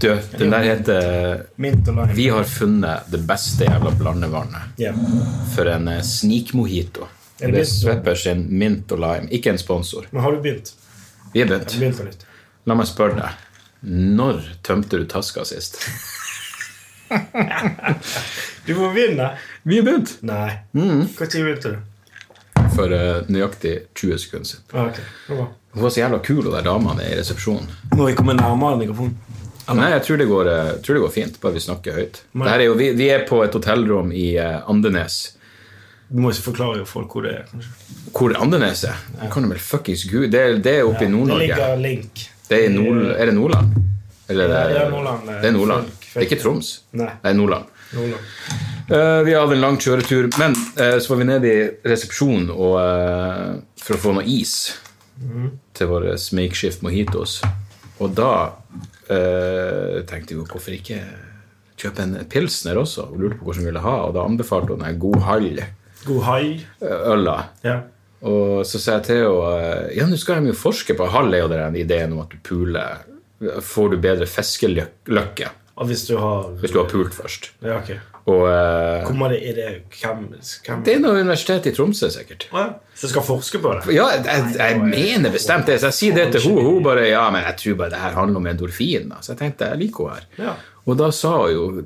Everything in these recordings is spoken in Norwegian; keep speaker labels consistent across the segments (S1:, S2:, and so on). S1: Du, den der heter Vi har funnet det beste jævla blandevannet for en eh, snikmojito.
S2: det
S1: Det er
S2: mint og-
S1: Sveppers sin mint og lime. Ikke en sponsor.
S2: Men har du begynt?
S1: Vi er begynt.
S2: Begynt litt.
S1: La meg spørre deg. Når tømte du taska sist?
S2: Du må vinne.
S1: Vi er begynt!
S2: Nei.
S1: Mm.
S2: Når begynte du?
S1: For eh, nøyaktig 20 sekunder siden.
S2: Ah, ok. Det var bra.
S1: Hun var så jævla kul, og de damene i resepsjonen.
S2: Må vi komme nærmere mikrofonen?
S1: Nei, jeg tror det går, eh, jeg tror det går fint, bare vi snakker høyt. Det her er jo, vi, vi er på et hotellrom i eh, Andenes.
S2: Du må ikke forklare jo folk hvor det er. kanskje.
S1: Hvor er Andenes er? Jeg Kan du vel fuckings gud? Det, er- det er oppe i
S2: Det
S1: Nord-Norge.
S2: ligger link.
S1: Det er, i Nord er det Nordland? Eller er
S2: Ja, det er Nordland.
S1: Det er, Nordland.
S2: Fylk, fylk.
S1: Det er ikke Troms.
S2: Nei.
S1: Det er Nordland.
S2: Nordland.
S1: Eh, vi hadde en lang kjøretur, men eh, så var vi nede i resepsjonen og, eh, for å få noe is
S2: Mhm.
S1: til våre makeshift mojitos. Og da eh, tenkte vi jo, hvorfor ikke kjøpe en pilsner også? Og lurte på hvordan vi ville ha, og da anbefalte hun en god hall-øla.
S2: God hai. Ja.
S1: Og så sa jeg til henne eh, Ja, nå skal de jo forske på Hall er jo den ideen om at du puler Får du bedre fiskeløkke
S2: Og hvis du har
S1: hvis du har pult først.
S2: Ja, ok.
S1: Og eh,
S2: Kommer det i det Hvem, hvem
S1: det er noe universitet i Tromsø, sikkert.
S2: Ja, Så skal forske på det?
S1: Ja, jeg, jeg mener bestemt det. Så jeg sier det til henne. Hun bare Ja, men jeg tror bare det her handler om endorfin. da. Så jeg tenkte jeg liker henne her.
S2: Ja.
S1: Og da sa hun jo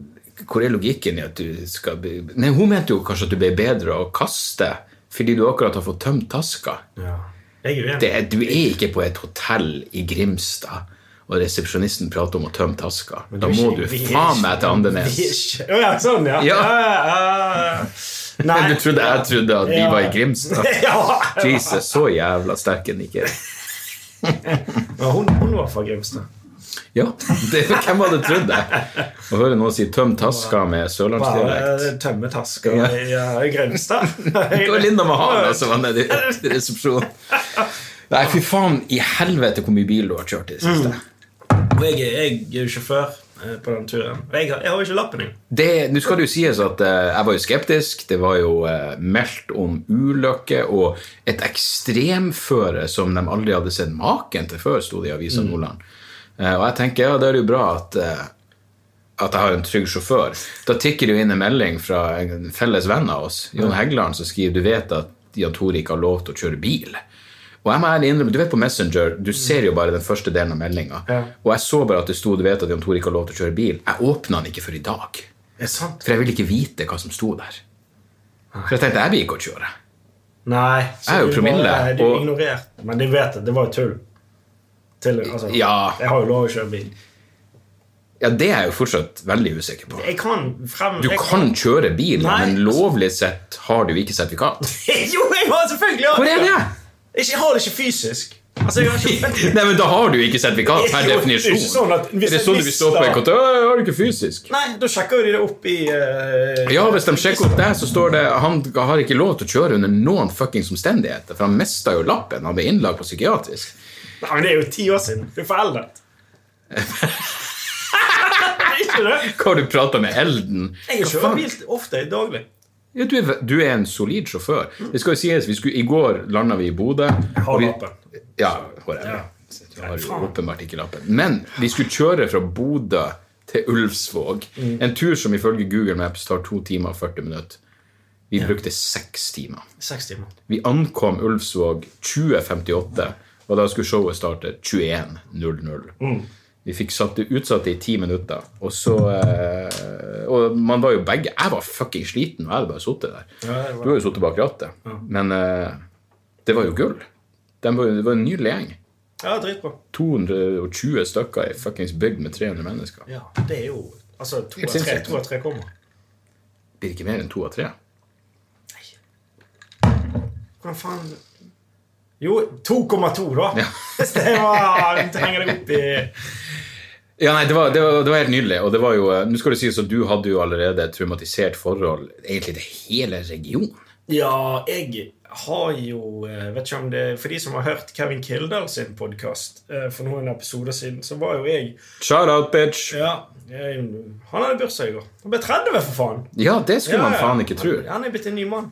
S1: Hvor er logikken i at du skal bli Nei, hun mente jo kanskje at du ble bedre å kaste fordi du akkurat har fått tømt taska.
S2: Ja. Jeg er uenig.
S1: det, er- du er ikke på et hotell i Grimstad, og resepsjonisten prater om å tømme taska. Da
S2: Vi er
S1: må
S2: ikke-
S1: du
S2: vi er
S1: faen meg til
S2: ikke- vi er
S1: Andenes.
S2: ikke- Å ja, sånn, ja.
S1: Ja.
S2: ja. Nei.
S1: Men du trodde jeg trodde at vi
S2: Ja.
S1: var i Grimstad?
S2: Ja.
S1: Jesus, så jævla sterk en ikke er.
S2: Ja, hun, hun var fra Grimstad.
S1: Ja, det, hvem hadde trodd det? Å høre noen si 'tøm taska' med sørlandsdialekt.
S2: Bare tømme tasker
S1: Ja.
S2: i ja, i Grimstad.
S1: Det var Linda Mahala som var nede i resepsjonen. Nei, fy faen i helvete hvor mye bil du har kjørt i det
S2: Mm.
S1: siste.
S2: Og jeg, er- jeg er jo sjåfør eh, på den turen. Og jeg, har- jeg har jo ikke lappen min.
S1: Det- Nå skal det jo sies at eh, jeg var jo skeptisk. Det var jo eh, meldt om ulykker og et ekstremføre som de aldri hadde sett maken til før, sto det i Avisa Nordland. Eh, og jeg tenker ja, da er det jo bra at, eh, at jeg har en trygg sjåfør. Da tikker det jo inn en melding fra en felles venn av oss, Jon Heggeland, som skriver du vet at Jan Tore ikke har lov til å kjøre bil. Og jeg må ærlig innrømme, Du vet på Messenger, du ser jo bare den første delen av meldinga. Og jeg så bare at det sto du vet at Jan Tore ikke har lov til å kjøre bil. Jeg åpna den ikke før i dag.
S2: Er det sant?
S1: For jeg ville ikke vite hva som sto der. For jeg tenkte jeg blir ikke å kjøre.
S2: Nei. så
S1: Jeg er jo
S2: du
S1: promille,
S2: Bare, du
S1: og-
S2: ignorert. Men de vet det. Det var jo tull. Til, altså,
S1: Ja.
S2: Jeg har jo lov å kjøre bil.
S1: Ja, Det er jeg jo fortsatt veldig usikker på.
S2: Jeg kan frem...
S1: Du
S2: jeg
S1: kan kjøre bil,
S2: Nei.
S1: men lovlig sett har du ikke sertifikat.
S2: jo, jeg har selvfølgelig hatt
S1: Hvor er det?
S2: Jeg ikke- jeg har det ikke fysisk. Altså, jeg har ikke...
S1: Nei, men Da har du ikke sertifikat per
S2: Det er jo
S1: definisjon.
S2: ikke sånn at- hvis
S1: er det
S2: jeg
S1: sånn du vil stå på
S2: mister-
S1: en kontor? «Å, Jeg har det ikke fysisk.
S2: Nei, da sjekker jo de det opp i eh,
S1: Ja, Hvis de sjekker opp deg, så står det han har ikke lov til å kjøre under noen fuckings omstendigheter. For han mista jo lappen. Han ble innlagt på psykiatrisk.
S2: Nei, men det er jo ti år siden. Du er foreldet. Er ikke det?
S1: Hva har du prata med Elden?
S2: Jeg
S1: Hva
S2: kjører
S1: faen?
S2: bil ofte, daglig.
S1: Ja, du, er, du er en solid sjåfør. Det skal jo sies, vi skulle, I går landa vi i Bodø. og
S2: Har
S1: vi-
S2: lappen.
S1: Ja, whatever.
S2: Ja.
S1: Du har jo åpenbart ikke lappen. Men vi skulle kjøre fra Bodø til Ulvsvåg. En tur som ifølge Google Maps tar 2 timer og 40 minutter. Vi brukte 6 timer.
S2: Seks timer.
S1: Vi ankom Ulvsvåg 20.58, og da skulle showet starte 21.00. Vi fikk satt, utsatt det i ti minutter, og så eh, Og man var jo begge Jeg var fucking sliten, og jeg hadde bare sittet der.
S2: det var-
S1: Du har jo sittet bak rattet. Men eh, Det var jo gull. De var, det var en nydelig gjeng.
S2: Ja, dritbra.
S1: 220 stykker i fuckings bygd med 300 mennesker.
S2: Ja, det er jo Altså, to
S1: Helt
S2: av tre,
S1: sinnssykt.
S2: to av tre kommer.
S1: Blir ikke mer enn to av tre.
S2: Hvordan faen Jo, 2,2, da. Så det var Du henger deg opp i
S1: Ja, nei, det var, det, var, det var helt nydelig. Og det var jo eh, Nå skal det sies at du hadde jo allerede et traumatisert forhold egentlig til hele regionen.
S2: Ja, jeg har jo eh, vet ikke om det, For de som har hørt Kevin Kildahl sin podkast for noen episoder siden, så var jo jeg
S1: Shout out, bitch!
S2: Ja, jeg, Han hadde bursdag i går. Han ble 30, for faen!
S1: Ja, det skulle
S2: Ja,
S1: man
S2: ja.
S1: faen ikke tro.
S2: Han, han er blitt en ny mann.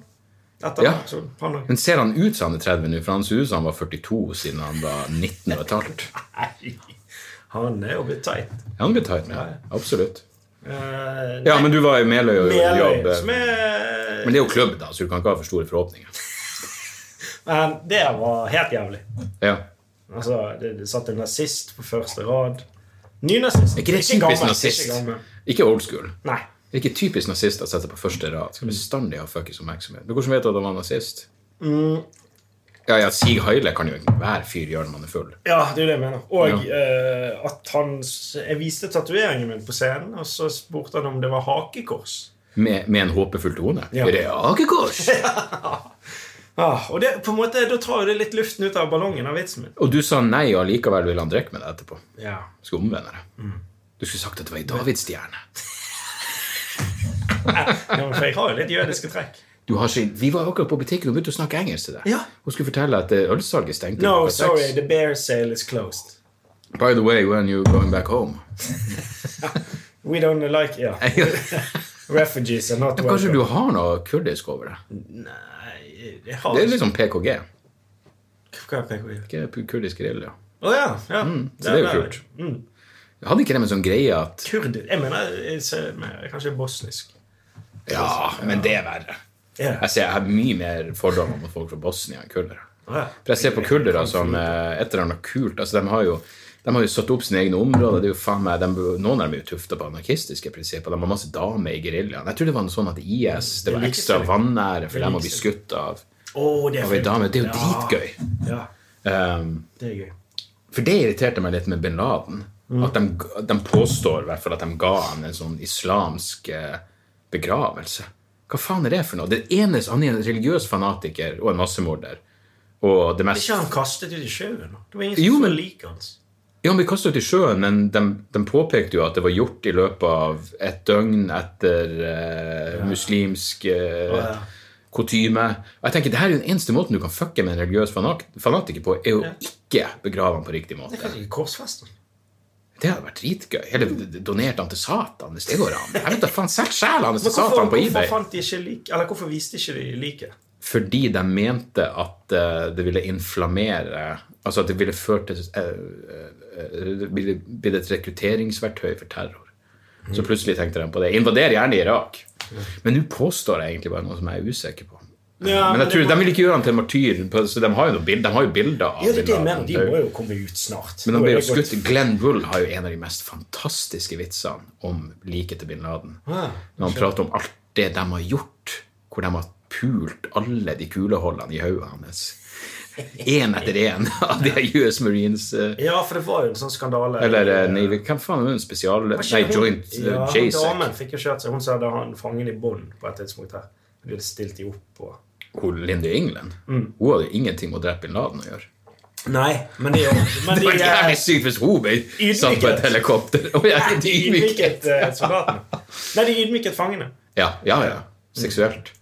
S2: Etter
S1: Ja. Mm.
S2: ja. så han
S1: Men ser han ut som han er 30 nå? For han ser ut som han var 42 siden han var 19 og et halvt.
S2: Nei, han er jo blitt teit.
S1: Han blir tight med. Absolutt.
S2: Eh,
S1: Ja, men du var i Meløy og gjorde
S2: Meløy,
S1: jobb. eh.
S2: som er
S1: Men det er jo klubb, da, så du kan ikke ha for store forhåpninger.
S2: Men det var helt jævlig.
S1: Ja.
S2: Altså, det, det satt en nazist på første rad. Ny nazist.
S1: Er ikke det typisk nazist?
S2: Ikke gammel.
S1: Ikke old school.
S2: Nei.
S1: Det er ikke typisk nazist å sette seg på første rad. Skal bestandig ha fuckings oppmerksomhet. Men hvordan vet du at han var nazist?
S2: Mm.
S1: Ja, ja, Sig Heile kan jo enhver fyr gjøre når man er full.
S2: Ja, det er jo det jeg mener. Og eh, at han s- Jeg viste tatoveringen min på scenen, og så spurte han om det var hakekors.
S1: Med, med en håpefull tone.
S2: Ja.
S1: Er det hakekors?
S2: Ah, og det, på en måte, da tar jo det litt luften ut av ballongen av vitsen min.
S1: Og du sa nei, og likevel ville han drikke med deg etterpå.
S2: Ja.
S1: Du skulle omvende
S2: Mm.
S1: deg. Du skulle sagt at det var ei davidsstjerne.
S2: ja, men For jeg har jo litt jødiske trekk.
S1: Du har ikke, vi var akkurat på butikken og begynte å snakke engelsk til deg.
S2: Ja.
S1: Hun skulle fortelle at eh, ølsalget stengte.
S2: No,
S1: klokka seks.
S2: sorry, the bear sale is closed.
S1: By the way, when you going back home?
S2: We don't like yeah. Refugees are not
S1: Kanskje
S2: welcome.
S1: du har noe kurdisk over det?
S2: Nei, jeg har
S1: Det er
S2: ikke-
S1: litt sånn PKG.
S2: Hva er PKI?
S1: Ikke pu- Kurdisk gerilja.
S2: Å ja. ja.
S1: Mm, Så det er
S2: Ja,
S1: jo
S2: nei.
S1: kult. Hadde ikke de en sånn greie at
S2: Kurder Mm, Jeg mener jeg ser mer, kanskje bosnisk.
S1: Ja, men det er verre.
S2: Ja.
S1: Jeg, ser, jeg har mye mer fordommer mot folk fra Bosnia enn kurdere.
S2: Ja.
S1: For jeg ser på kurdere som eh, et eller annet kult. Altså, de har jo de har jo satt opp sine egne områder. det er jo faen meg, de, Noen av dem er jo tufta på anarkistiske prinsipper. De har masse damer i geriljaen. Jeg tror det var noe sånn at IS det var ekstra vanære for dem å bli skutt av,
S2: Å, det er
S1: av ei
S2: fint.
S1: dame. Det er jo
S2: Ja.
S1: dritgøy.
S2: Ja,
S1: Um,
S2: det er gøy.
S1: For det irriterte meg litt med bin Laden.
S2: Mm.
S1: At de, de påstår i hvert fall at de ga han en sånn islamsk eh, begravelse. Hva faen er det for noe? Den ene han er en religiøs fanatiker og en massemorder. Og det mest
S2: Ikke han kastet ut i sjøen? da? Det var ingen
S1: Jo,
S2: som
S1: men-
S2: så lik hans.
S1: Ja, han ble kastet ut i sjøen, men de, de påpekte jo at det var gjort i løpet av et døgn etter eh, muslimsk eh,
S2: Ja, ja.
S1: kutyme. Og jeg tenker, det her er jo den eneste måten du kan fucke med en religiøs fanak- fanatiker på, er jo ikke begrave han på riktig måte.
S2: Det er ikke korsfesten.
S1: Det hadde vært dritgøy. Eller
S2: Mm.
S1: donerte han til Satan hvis det går an. Jeg vet da faen, Sett sjela hans
S2: Men
S1: til
S2: hvorfor,
S1: Satan på
S2: hvorfor,
S1: eBay.
S2: fant de ikke lik, eller hvorfor viste ikke de liket?
S1: Fordi de mente at eh, det ville inflammere Altså at det ville ført til eh, eh, Det ville blitt et rekrutteringsverktøy for terror.
S2: Mm.
S1: Så plutselig tenkte de på det. Invader gjerne Irak. Men nå påstår jeg egentlig bare noe som jeg er usikker på.
S2: Ja,
S1: men
S2: men
S1: jeg tror,
S2: det må-
S1: De vil ikke gjøre han til martyr, på- så de har jo, noen bild, de har jo bilder av
S2: Ja, det er det jeg
S1: Bin
S2: mener.
S1: Laden.
S2: De må jo komme ut snart.
S1: Men han
S2: Nå
S1: ble
S2: er
S1: jo
S2: det gått-
S1: skutt. Glenn Bull har jo en av de mest fantastiske vitsene om liket til bin Laden.
S2: Ah,
S1: Når han prater om alt det de har gjort, hvor de har pult alle de kuleholdene i hodet hans. Én etter én av de her US Marines eh,
S2: Ja, for det var jo en sånn skandale.
S1: Eller eh, Navy Hvem faen er hun spesial...
S2: Var ikke
S1: Nei,
S2: hun-
S1: Joint eh,
S2: Ja, hun damen
S1: JSAC.
S2: fikk jo kjørt seg. Hun sa da han fangen i bånd på et tidspunkt her. De hadde stilt de opp og
S1: Hun Lindy England.
S2: Mm.
S1: Hun hadde ingenting med å drepe bin Laden å gjøre.
S2: Nei, men det er jo men
S1: Det var
S2: de,
S1: jævlig
S2: eh,
S1: sykt hvis hun ble satt på et helikopter. Og jeg er
S2: de
S1: ydmyket.
S2: ydmyket eh, soldatene. Nei, de ydmyket fangene.
S1: Ja, ja,
S2: Mm.
S1: ja. Seksuelt.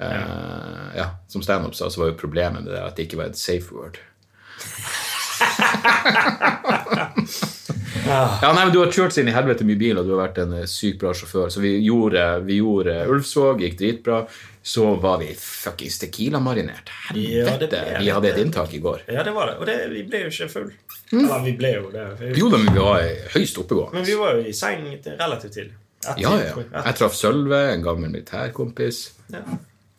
S1: Eh, ja. Som standup sa, så var jo problemet med det at det ikke var et safe word.
S2: Ah.
S1: ja, nei, men Du har kjørt seg inn i helvete mye bil, og du har vært en eh, sykt bra sjåfør. Så vi gjorde, vi gjorde Ulvsvåg, gikk dritbra. Så var vi fuckings Tequila-marinert.
S2: Ja, det
S1: Helvete!
S2: ble
S1: Vi hadde et inntak i går.
S2: Ja, det var det. Og det, vi ble jo ikke full. Eller, vi ble jo det. Vi-
S1: Jo da, men vi var høyst
S2: Men
S1: oppegående.
S2: vi var jo i seng til relativt tidlig. Etter-
S1: Ja, ja.
S2: etter-
S1: Jeg traff Sølve, en gammel militærkompis.
S2: ja.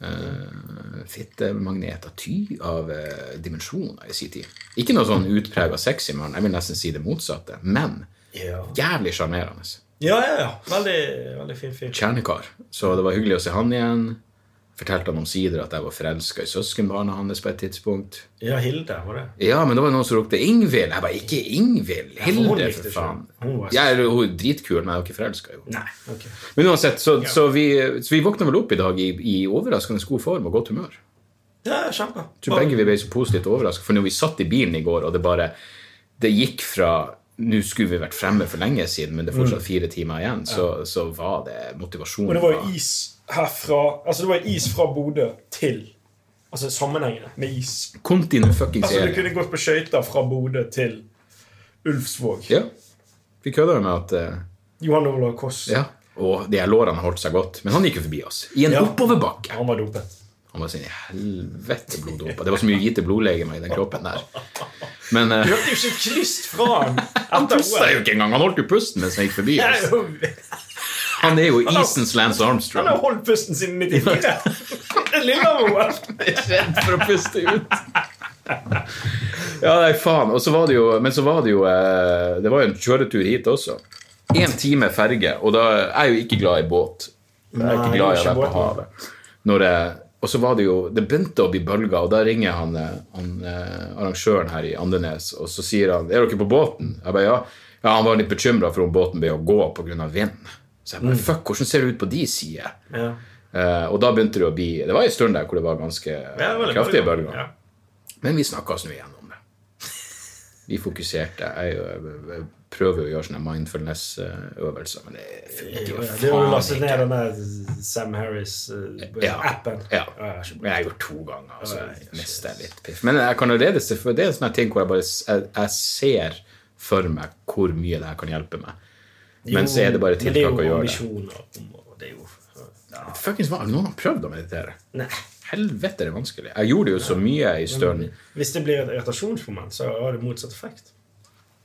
S1: eh, fittemagnet av ty av eh, dimensjoner i sin tid. Ikke noe sånn utprega sexy mann, jeg vil nesten si det motsatte, men
S2: Ja.
S1: jævlig sjarmerende.
S2: ja, ja, ja. Veldig, veldig fin fyr.
S1: Kjernekar. Så det var hyggelig å se han igjen. fortalte han omsider at jeg var forelska i søskenbarna hans på et tidspunkt.
S2: Ja, Hilde var det.
S1: Ja, men da var det noen som ropte 'Ingvild'. Jeg bare 'Ikke Ingvild'.
S2: for hun
S1: Hilde,
S2: likte
S1: for
S2: ikke.
S1: faen.
S2: Hun var-
S1: Jeg er jo dritkul, men jeg er jo ikke forelska i henne.
S2: Nei, ok.
S1: Men uansett, så, så, vi, så vi våkna vel opp i dag i, i overraskende god form og godt humør.
S2: Ja, kjempe.
S1: Jeg tror begge vi ble så positivt overrasket, for når vi satt i bilen i går, og det bare Det gikk fra nå skulle vi vært fremme for lenge siden, men det er fortsatt fire timer igjen. Så, så var det motivasjonen.
S2: Og Mm. det var jo is herfra Altså, det var jo is fra Bodø til Altså sammenhengende med is.
S1: Continue fucking
S2: Altså,
S1: serie.
S2: du kunne gått på skøyter fra Bodø til Ulfsvåg.
S1: Ja. Vi kødda jo med at eh,
S2: Johan Olav Koss.
S1: Ja. Og de her lårene holdt seg godt. Men han gikk jo forbi oss. I en
S2: Ja.
S1: oppoverbakke.
S2: Han var dopet.
S1: Han var sånn i helvete bloddopa. Det var så mye hvite blodlegemer i den kroppen der. Men eh,
S2: Du hørte jo ikke et knyst fra han
S1: han
S2: etter
S1: pusta jo
S2: OL.
S1: ikke engang! Han holdt jo pusten mens han gikk forbi
S2: Jeg er
S1: oss.
S2: jo-
S1: Han er jo isens Lance
S2: Han
S1: Armstrong.
S2: har holdt pusten siden 94. Det Lillehammer-OL.
S1: redd for å puste ut. Ja, nei, faen. Og så var det jo, men så var det jo eh, Det var jo en kjøretur hit også. Én time ferge, og da jeg er jeg jo ikke glad i båt. Jeg er
S2: Nei,
S1: ikke glad i å
S2: ikke
S1: være på
S2: båt.
S1: havet. Når jeg, og så var det jo Det begynte å bli bølger, og da ringer han, eh, han eh, arrangøren her i Andenes, og så sier han 'Er dere på båten?' Jeg bare, ja. ja han var litt bekymra for om båten ble å gå pga. vind. Så jeg
S2: Mm.
S1: bare 'Fuck, hvordan ser det ut på de sider?'
S2: Ja.
S1: Eh, og da begynte det å bli Det var en stund der hvor det var ganske
S2: Ja, det var litt
S1: kraftige
S2: bølger.
S1: bølger.
S2: Ja.
S1: Men vi snakka oss nå igjennom det. Vi fokuserte. Jeg, er jo- jeg prøver jo å gjøre sånne mindfulness-øvelser, men det
S2: Ja,
S1: funker
S2: ja,
S1: jo
S2: Det er jo lastet
S1: faen
S2: ned
S1: ikke.
S2: den der Sam eh, Harris-appen.
S1: Ja. Men jeg har gjort to ganger, og så mister jeg litt piff. Men jeg kan allerede se for det er en sånn her ting hvor jeg bare s- jeg, jeg ser for meg hvor mye det her kan hjelpe meg. Men så er det bare tiltak å gjøre det.
S2: det. og Det er jo ja.
S1: Fuckings, hva- har noen har prøvd å meditere?
S2: Nei.
S1: Helvete, det er vanskelig. Jeg gjorde det jo så mye i stund.
S2: Mm. Hvis det blir et irritasjonsmoment, så har det motsatt effekt.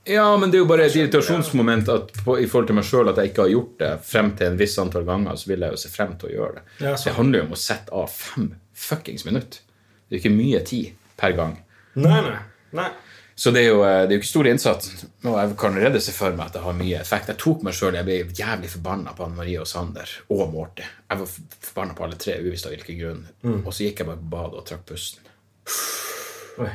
S1: Ja, men det er jo bare et irritasjonsmoment at på, i forhold til meg sjøl at jeg ikke har gjort det frem til en viss antall ganger, så vil jeg jo se frem til å gjøre det.
S2: Ja, sant.
S1: det handler jo om å sette av fem fuckings minutter. Det er jo ikke mye tid per gang.
S2: Nei, nei. nei.
S1: Så det er jo, eh, det er jo ikke stor innsats. Og jeg kan allerede se for meg at det har mye effekt. Jeg tok meg sjøl Jeg ble jævlig forbanna på Anne Marie og Sander og Morty. Jeg var f- forbanna på alle tre, uvisst av hvilken grunn. Og så gikk jeg bare på badet og trakk pusten.
S2: Oi.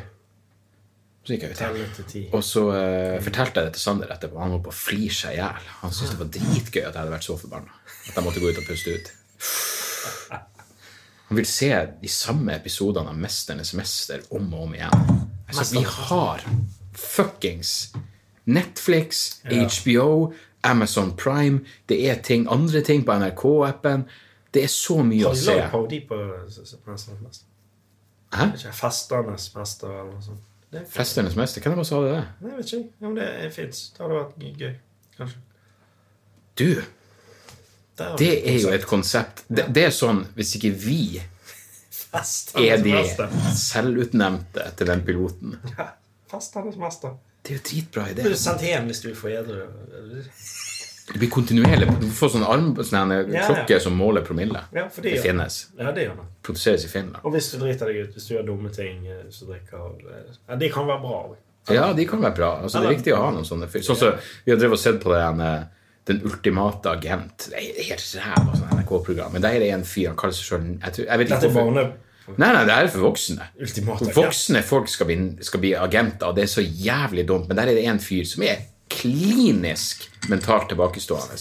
S1: Så gikk jeg ut.
S2: Telle til ti.
S1: Og så eh, fortalte jeg det til Sander etterpå. Han holdt på å flire seg i hjel. Han syntes det var dritgøy at jeg hadde vært så forbanna. At jeg måtte gå ut og puste ut. Han vil se de samme episodene av 'Mesternes mester' om og om igjen. Altså, vi har fuckings Netflix, HBO, Amazon Prime Det er ting, andre ting på NRK-appen. Det er så mye å
S2: Har de
S1: se.
S2: lagd parodi på Mesternes mester?
S1: Hæ?
S2: Ikke Festernes mester eller noe sånt? Det,
S1: Mesternes mester? Hvem var det som hadde det?
S2: nei, jeg vet ikke. Ja, men det fins. Det hadde vært gøy, gøy. Kanskje.
S1: Du,
S2: Der har
S1: det
S2: vi
S1: er jo et konsept. Det, det er sånn, hvis ikke vi er
S2: Festernes
S1: de
S2: mester.
S1: selvutnevnte til den piloten.
S2: Ja, Festernes mester.
S1: Det er jo dritbra idé.
S2: Blir du sendt hjem hvis du er for edru?
S1: Det blir kontinuerlig. Du får sånn arm, sånn en
S2: Ja,
S1: klokke som måler promille.
S2: Ja, for det
S1: Det
S2: gjør det.
S1: finnes.
S2: Ja, det gjør det.
S1: Produseres i Finland.
S2: Og hvis du driter deg ut, hvis du gjør dumme ting eh, så drikker, eh, ja, Det kan være bra. også.
S1: Ja, de kan være bra. Altså, det er viktig å ha noen sånne. fyr. Sånn som vi har drevet og sett på den, eh, den ultimate agent. Det er helt ræva sånn NRK-program. Men der er det en fyr, han kaller seg sjøl jeg, tror- jeg vet ikke
S2: Dette er
S1: hvorfor.
S2: barne...
S1: Nei, nei, det her er for voksne.
S2: Ultimate agent.
S1: Voksne folk skal bli, skal bli agenter, og det er så jævlig dumt. Men der er det en fyr som er klinisk mentalt tilbakestående.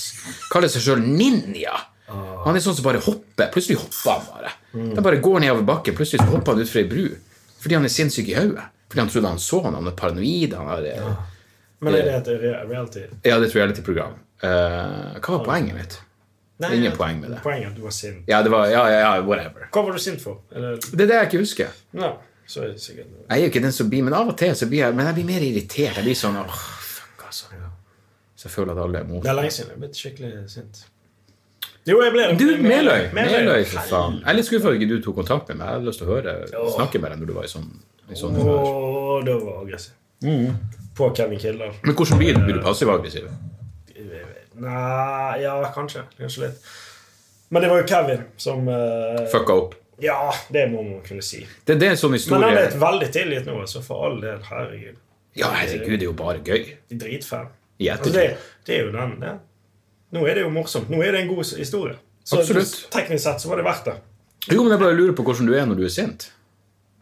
S1: Kaller seg sjøl ninja. Han er sånn som bare hopper. Plutselig hopper han bare. Han bare går nedover bakken, plutselig så hopper han utfor ei bru. Fordi han er sinnssyk i hodet. Fordi han trodde han så han, han er paranoid. Han er,
S2: Men er det et re- reality?
S1: ja, det er et reality-program. Eh, hva var poenget mitt?
S2: Nei,
S1: Ingen poeng med det.
S2: Poenget er at du var sint.
S1: Ja, det var Ja, ja, ja, whatever.
S2: Hva var du sint for? Eller,
S1: Det er det jeg ikke husker.
S2: nei, så er det sikkert noe.
S1: Jeg er jo ikke den som blir, men av og til så blir jeg Men jeg blir mer irritert. Jeg blir sånn åh, fuck, altså. Så jeg føler at alle er mot.
S2: Det er lenge siden jeg har blitt skikkelig sint. Jo, jeg ble det.
S1: Du, Meløy!
S2: Meløy.
S1: Meløy, for faen. Jeg er litt skuffa at ikke du tok kontakt med meg. Jeg hadde lyst til å høre snakke med deg når du var i sånn, i sånn humør.
S2: Å, da var jeg aggressiv.
S1: Mm.
S2: På Kevin Kildahl.
S1: Men hvordan blir du? Blir du passiv-aggressiv?
S2: Nei Ja, kanskje. Kanskje litt. Men det var jo Kevin som eh,
S1: Fucka opp?
S2: Ja, det må man kunne si.
S1: Det, det er en sånn
S2: Men han
S1: historie.
S2: er et veldig tilgitt nå, så for all del, herregud.
S1: Ja, herregud, det er jo bare gøy.
S2: Dritfan.
S1: I
S2: Altså,
S1: ettertid.
S2: det, det er jo den. Det. Nå er det jo morsomt. Nå er det en god s- historie. Så
S1: Absolutt.
S2: teknisk sett så var det verdt det.
S1: Jo, men jeg bare lurer på hvordan du er når du er sint.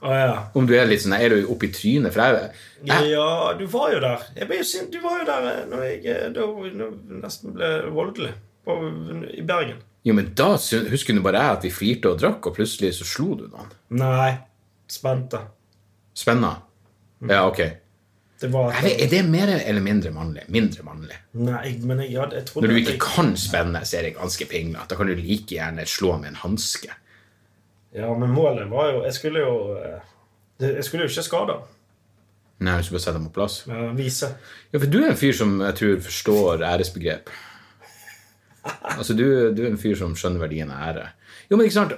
S2: Å ja.
S1: Om du er litt sånn, er du oppi trynet? For jeg, jeg,
S2: Ja, du var jo der. Jeg ble jo sint. Du var jo der eh, når jeg eh, da, nå nesten ble voldelig på, i Bergen.
S1: jo, men da syn- husker nå bare jeg at vi flirte og drakk, og plutselig så slo du noen.
S2: Nei. Spente.
S1: Spennende. Ja, ok.
S2: Det var
S1: Er det, er det mer eller mindre mannlig? Mindre mannlig.
S2: Nei, men jeg, hadde- jeg trodde
S1: Når du
S2: at
S1: ikke
S2: jeg,
S1: kan spenne, så er det ganske pinglete. Da kan du like gjerne slå med en hanske.
S2: Ja, men målet var jo Jeg skulle jo eh, det- Jeg skulle jo ikke skade ham.
S1: Nei, hvis du bare setter dem på plass.
S2: eh, Vise.
S1: Ja, for du er en fyr som jeg tror forstår æresbegrep. Altså, du, du er en fyr som skjønner verdien av ære. Jo, men ikke sant?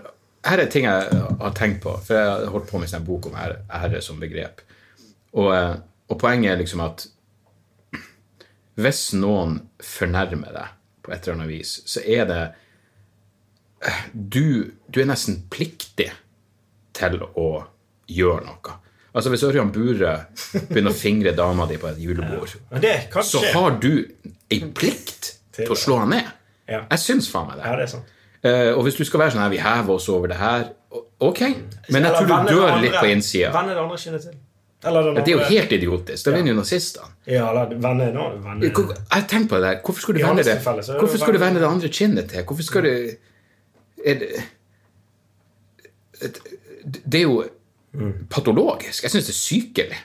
S1: Her er ting jeg har tenkt på, for jeg har holdt på med en sånn bok om ære, ære som begrep. Og, eh, og poenget er liksom at hvis noen fornærmer deg på et eller annet vis, så er det eh, Du, du er nesten pliktig til å gjøre noe. Altså Hvis Ørjan Bure begynner å fingre dama di på et julebord,
S2: Men det kan
S1: så
S2: skje.
S1: har du ei plikt til å slå han ned.
S2: Ja.
S1: Jeg syns faen meg
S2: Ja, det
S1: det.
S2: er sant.
S1: Eh, og hvis du skal være sånn her, vi hever oss over det her, o- ok, men jeg
S2: Eller
S1: tror du
S2: vende det
S1: dør
S2: andre-
S1: litt på innsida.
S2: Vende det andre kinnet til. Eller den
S1: Det er jo
S2: andre-
S1: helt idiotisk. Da vinner jo nazistene.
S2: Ja, eller vende det nå. Vende
S1: Hvor- Jeg tenker på det der. Hvorfor skal du
S2: Mm. I
S1: vende
S2: hans
S1: det
S2: tilfelle så er det
S1: Hvorfor
S2: jo
S1: skal du vende
S2: vende-
S1: det andre kinnet til? Hvorfor skal du er det, det er jo
S2: Mm.
S1: patologisk. Jeg syns det er sykelig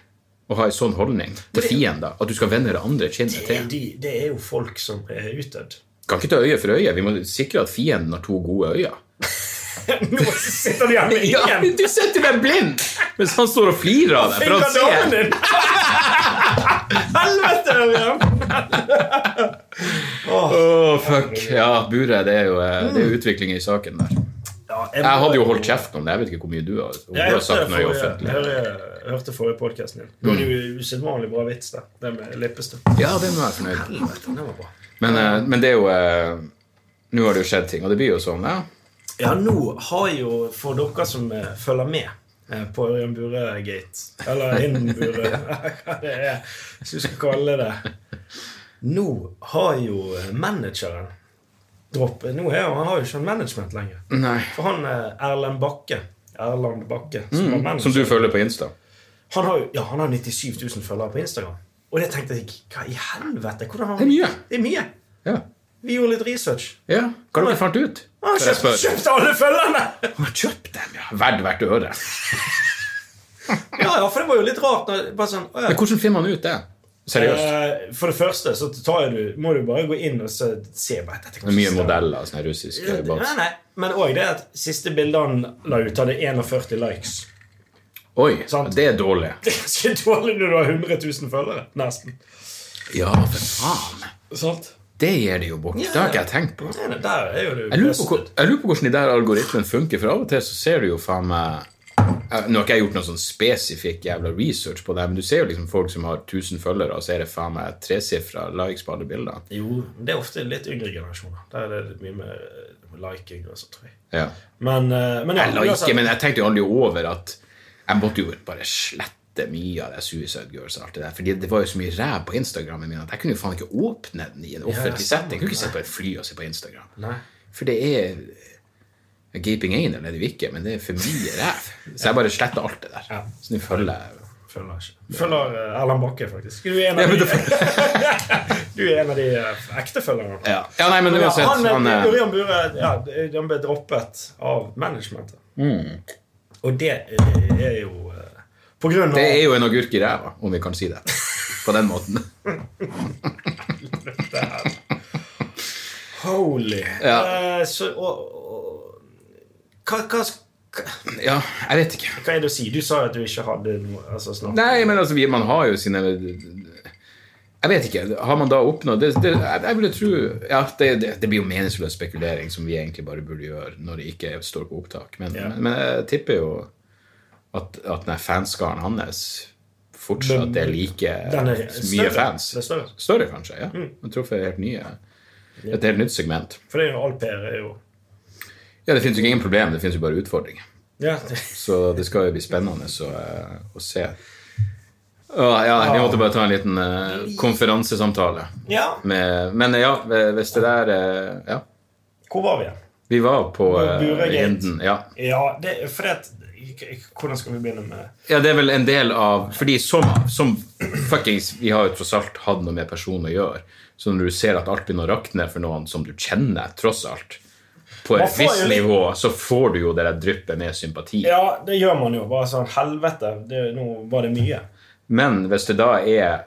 S1: å ha en sånn holdning til fiender. At du skal vende det andre kinnet
S2: det, er
S1: til.
S2: de, det er jo folk som er utdødd.
S1: Kan ikke ta øye for øye. Vi må sikre at fienden har to gode øyne.
S2: Nå sitter de igjen med
S1: Ja,
S2: ingen!
S1: du sitter der blind mens han står og flirer av deg. For
S2: Finger
S1: han
S2: damen
S1: ser.
S2: din! Helvete! Ørjan!
S1: Åh, fuck. Ja, Bure, det er jo eh, det er jo utvikling i saken der.
S2: Ja,
S1: Jeg hadde jo holdt kjeft om det. Jeg vet ikke hvor mye du har, om du
S2: Jeg
S1: har
S2: hørte
S1: sagt noe i
S2: forrige,
S1: offentlig. Mm.
S2: jeg, jeg hørte forrige podkasten din. Du hadde jo usedvanlig bra vits der. Det med leppestift.
S1: Ja, det må jeg være fornøyd med.
S2: Den var bra.
S1: Men, eh, men det er jo eh, Nå har det jo skjedd ting, og det blir jo sånn, ja.
S2: Ja, nå har jo, for dere som eh, følger med eh, på Ørjan Bure-gate, eller innen Bure, hva det er hvis du skal kalle det Nå har jo eh, manageren droppet Nå er, jo- Han har jo ikke en management lenger.
S1: Nei.
S2: For han eh, Erlend Bakke, Erland Bakke, som var manager
S1: Mm, Som du følger på Insta.
S2: han har, jo- ja, han har 97 000 følgere på Instagram. Og det tenkte jeg, hva i helvete? Hvordan har han...
S1: Det er mye.
S2: Det er mye.
S1: Ja.
S2: Vi gjorde litt research.
S1: ja. Hva har dere fant ut?
S2: Han har
S1: Før jeg
S2: Ah, kjøpt,
S1: spør.
S2: kjøpt alle følgerne!
S1: Han har kjøpt dem, ja. Verdt hvert øre.
S2: Ja, ja, for det var jo litt rart. Når, bare sånn, å, ja.
S1: Men hvordan finner han ut det? Seriøst.
S2: Eh, For det første så tar jeg du, må du bare gå inn og så, se bare, dette
S1: Det er
S2: kan ikke
S1: mye
S2: stemme.
S1: modeller, sånne russiske
S2: Nei,
S1: bots.
S2: nei. Men òg det at siste bildet han la ut, hadde 41 likes.
S1: Oi,
S2: Sant.
S1: det er dårlig.
S2: Det er ganske dårlig når du har 100 000 følgere. Nesten.
S1: Ja, for faen.
S2: Sant?
S1: Det gir de jo bort. Det har ikke jeg tenkt på.
S2: Nei, nei, der er jo du
S1: Jeg lurer, på, hvor- jeg lurer på hvordan de der algoritmene funker, for av og til så ser du jo faen meg jeg- Nå har ikke jeg gjort noe sånn spesifikk jævla research på det, men du ser jo liksom folk som har 1000 følgere, og så er det faen meg tresifra likes på alle bildene.
S2: Jo, men det er ofte litt yngre generasjoner. Der er det mye mer eh, liking og sånn, tror jeg.
S1: Ja.
S2: Men, eh, men ja,
S1: Jeg liker,
S2: uansett-
S1: men jeg tenkte jo aldri over at jeg måtte jo bare slette mye av det Suicide Girls og alt det der, fordi det var jo så mye ræv på Instagrammen min at jeg kunne jo faen ikke åpne den i en offentlig setting. Jeg kunne ikke sitte på et fly og se på Instagram.
S2: Nei.
S1: For det er Gaping anal er det jo ikke, men det er for mye ræv. Så jeg bare sletter alt det der.
S2: Ja.
S1: Så nå følger jeg
S2: Følger ikke. Følger eh, Erlend Bakke, faktisk. Du er en av
S1: Ja, men
S2: de,
S1: det-
S2: du er en av de eh, ekte følgerne.
S1: Ja, ja nei, men
S2: Men ja,
S1: uansett.
S2: han,
S1: Han,
S2: eh,
S1: eh,
S2: Ørjan Bure ja, han ble droppet av managementet.
S1: Mm.
S2: Og det eh, er jo eh, på grunn av
S1: det er jo en agurk i ræva, om vi kan si det. På den måten.
S2: Holy!
S1: Ja.
S2: Eh, så, og, og, hva, hva, hva,
S1: Ja, jeg vet ikke.
S2: hva er det å si? Du sa jo at du ikke hadde noe altså, snakk.
S1: Nei, men altså, vi- man har jo sine Jeg vet ikke. Har man da oppnådd det, det, jeg- Jeg ville tro ja, det, det, det blir jo meningsløs spekulering, som vi egentlig bare burde gjøre når det ikke står på opptak. Men,
S2: Ja.
S1: men, men jeg tipper jo at, at den her fanskaren hans fortsatt er like
S2: Den er
S1: mye
S2: større. Mm.
S1: fans.
S2: Det er større.
S1: Større, kanskje. ja. Jeg tror for helt nye. Et helt nytt segment.
S2: For det er jo all PR er jo
S1: Ja, Det fins jo ingen problem, det fins jo bare utfordringer.
S2: ja, det,
S1: Så det skal jo bli spennende å, eh, å se. Åh, ja, vi måtte bare ta en liten eh, konferansesamtale.
S2: ja.
S1: Med, men ja, hvis det eh, der eh, Ja.
S2: Hvor var vi igjen?
S1: Vi var på eh,
S2: Buregate.
S1: Rinden. Ja.
S2: Ja, det, for det, at- hvordan skal vi begynne med
S1: ja, det er vel en del av Fordi som, som fuckings Vi har jo tross alt hatt noe med personen å gjøre. Så når du ser at alt begynner å rakne for noen som du kjenner, tross alt, på
S2: Man
S1: et
S2: får jo
S1: visst
S2: litt-
S1: nivå, så får du jo det der dryppet med sympati.
S2: Ja, det gjør man jo. Bare sånn Helvete, det, nå var det mye.
S1: Men hvis det da er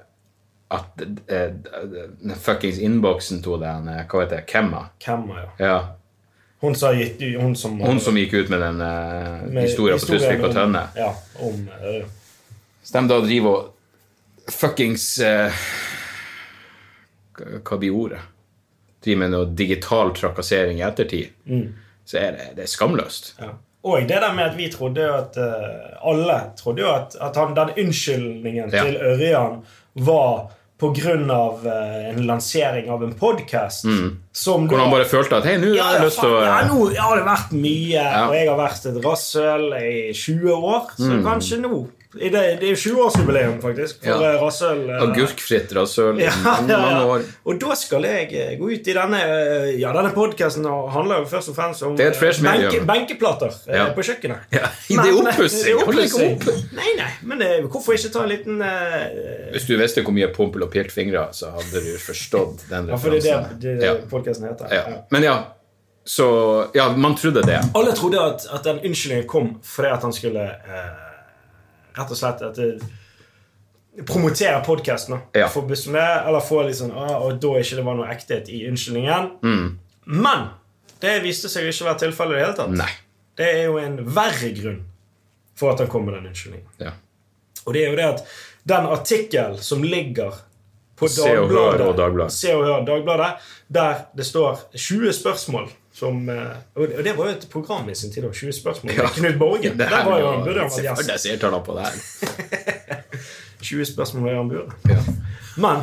S1: at eh, den fuckings innboksen til den eh, Hva heter det? Kemma?
S2: Hvem er det?
S1: Ja.
S2: Hun som har gitt ut Hun som
S1: Hun som gikk ut med den eh,
S2: med
S1: historien på Tusvik og
S2: om-
S1: Tønne.
S2: Ja, om eh,
S1: Hvis de da driver og fuckings eh, Hva hva blir ordet? Driver med noe digital trakassering i ettertid,
S2: Mm.
S1: så er det, det er skamløst.
S2: ja. Og det der med at vi trodde jo at eh, Alle trodde jo at, at han, den unnskyldningen
S1: Ja.
S2: til Ørjan var på grunn av eh, en lansering av en podkast som
S1: Mm. Hvor han
S2: da-
S1: bare følte at hei, nå
S2: Ja,
S1: har jeg lyst til å
S2: faen, ja, nå har det vært mye, og jeg har vært et rasshøl i 20 år, så
S1: Mm.
S2: kanskje nå i det, det er jo 20-årsjubileum, faktisk, for
S1: Ja.
S2: ja. rasshøl. eh,
S1: Agurkfritt rasshøl i
S2: Ja,
S1: mange,
S2: ja,
S1: mange
S2: ja.
S1: år.
S2: Og da skal jeg eh, gå ut i denne eh, Ja, denne podkasten handler jo først og fremst om
S1: Det er et fresh
S2: eh, benke-
S1: medium.
S2: benkeplater eh,
S1: Ja.
S2: på kjøkkenet. eh,
S1: Ja, det er oppussing! Hold deg ikke opp!
S2: Nei, nei, men eh, hvorfor ikke ta en liten eh,
S1: Hvis du visste hvor mye pompel og pirtfingre, så hadde du forstått den
S2: Ja, for det er
S1: referansen.
S2: det, det
S1: ja.
S2: podkasten heter.
S1: Ja. Men ja, så Ja, man trodde det.
S2: Alle trodde at, at den unnskyldningen kom fordi at han skulle eh, rett og slett at det, promotere podkasten.
S1: Ja.
S2: Få buss med, eller få litt sånn ah, Og da ikke det var noe ekthet i unnskyldningen.
S1: Mm.
S2: Men det viste seg jo ikke å være tilfellet i det hele tatt.
S1: Nei.
S2: Det er jo en verre grunn for at han kom med den unnskyldningen.
S1: Ja.
S2: Og det er jo det at den artikkelen som ligger på
S1: Se og Hør og Dagbladet.
S2: Se og Hør Dagbladet, der det står 20 spørsmål som eh, Og det og det var jo et program i sin tid, da, 20 spørsmål med
S1: Ja.
S2: Knut Borge.
S1: Det
S2: Der
S1: her
S2: var jo
S1: var-
S2: han burde han vært
S1: Se for deg
S2: gjest.
S1: seertallene på det her.
S2: 20 spørsmål med Jan Bure.
S1: Ja.
S2: Men,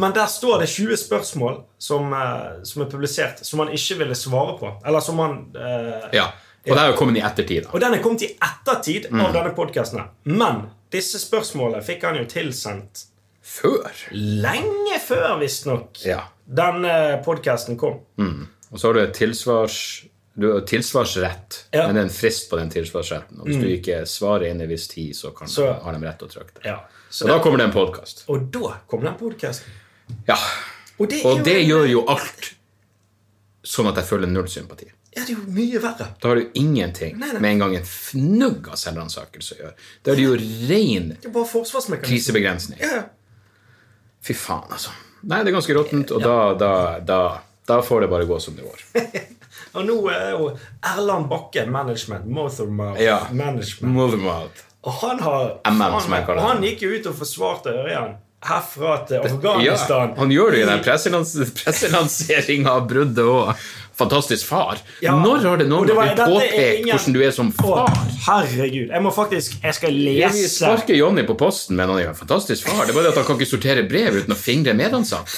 S2: men der står det 20 spørsmål som, eh, som er publisert, som han ikke ville svare på. Eller som han eh,
S1: Ja. Og det er jo kommet i ettertid. da.
S2: Og den er kommet i ettertid
S1: Mm.
S2: av denne podkasten. Men disse spørsmålene fikk han jo tilsendt
S1: Før!
S2: lenge før, visstnok,
S1: Ja.
S2: den eh, podkasten kom.
S1: Og så har du et tilsvars... Du har tilsvarsrett,
S2: Ja. Mm.
S1: men det er en frist på den tilsvarsretten. Og hvis du ikke svarer innen en viss tid, så, kan,
S2: Så-
S1: har de rett til å trykke det.
S2: Ja. Så
S1: Og da kommer det en podkast.
S2: og da kom den podkasten.
S1: Ja.
S2: Og det, er
S1: Og det
S2: jo,
S1: gjør jo alt sånn at jeg føler null sympati.
S2: ja, det er jo mye verre.
S1: Da har du ingenting
S2: Nei, nei.
S1: med en gang en fnugg av selvransakelse å gjøre. Da er det jo ren
S2: Det er bare forsvarsmekanisme.
S1: krisebegrensning.
S2: Ja.
S1: Fy faen, altså. Nei, det er ganske råttent, og da, da, da, da får det bare gå som det går.
S2: Og nå er jo Erland Bakke management. Mothermouth
S1: Ja.
S2: management.
S1: Mothermouth.
S2: Og han har
S1: MM,
S2: han,
S1: som jeg kaller
S2: og
S1: det.
S2: han gikk jo ut og forsvarte Ørjan herfra til
S1: Ja,
S2: Afghanistan.
S1: han gjør det i den presselans presselanseringa av bruddet òg. Fantastisk far.
S2: Ja.
S1: Når har det
S2: Og
S1: noen
S2: det var-
S1: gang blitt
S2: dette er
S1: påpekt
S2: ingen-
S1: hvordan du er som
S2: Å,
S1: far?
S2: herregud. Jeg må faktisk Jeg skal
S1: Vi
S2: lese
S1: sparker Jonny på posten, men han er jo en fantastisk far. Det er bare det at han kan ikke sortere brev uten å fingre medansatte.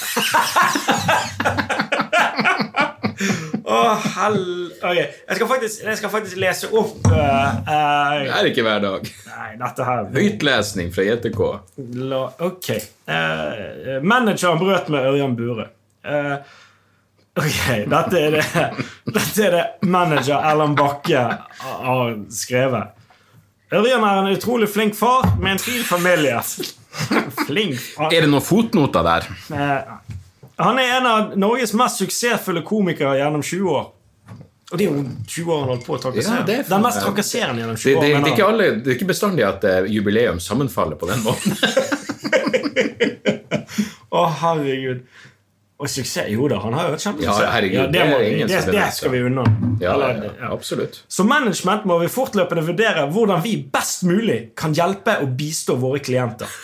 S2: Å, hel... Ok, jeg skal faktisk, jeg skal faktisk lese opp eh, eh,
S1: Det er ikke hver dag.
S2: Nei, dette her
S1: Høytlesning fra JTK.
S2: La, Ok. Eh, manageren brøt med Ørjan Bure. Eh, ok, dette er det Dette er det manager Erlend Bakke har skrevet. Ørjan er en utrolig flink far med en fin familie. flink far.
S1: Er det noen fotnoter der?
S2: Eh, han er en av Norges mest suksessfulle komikere gjennom 20 år. Og det er jo 20 år han holdt på å trakassere.
S1: Ja, det er faen-
S2: Den mest trakasserende gjennom 20
S1: Det, det,
S2: år.
S1: det,
S2: mener
S1: er
S2: han.
S1: ikke alle, det er ikke bestandig at eh, jubileum sammenfaller på den måten.
S2: Å, herregud. Og suksess Jo da, han har jo et kjempesuksess.
S1: Ja, herregud,
S2: det,
S1: det
S2: må
S1: er
S2: vi-
S1: ingen
S2: det,
S1: som
S2: det
S1: benekter.
S2: skal vi unna.
S1: Ja, ja,
S2: Eller,
S1: ja, absolutt.
S2: Som management må vi fortløpende vurdere hvordan vi best mulig kan hjelpe og bistå våre klienter.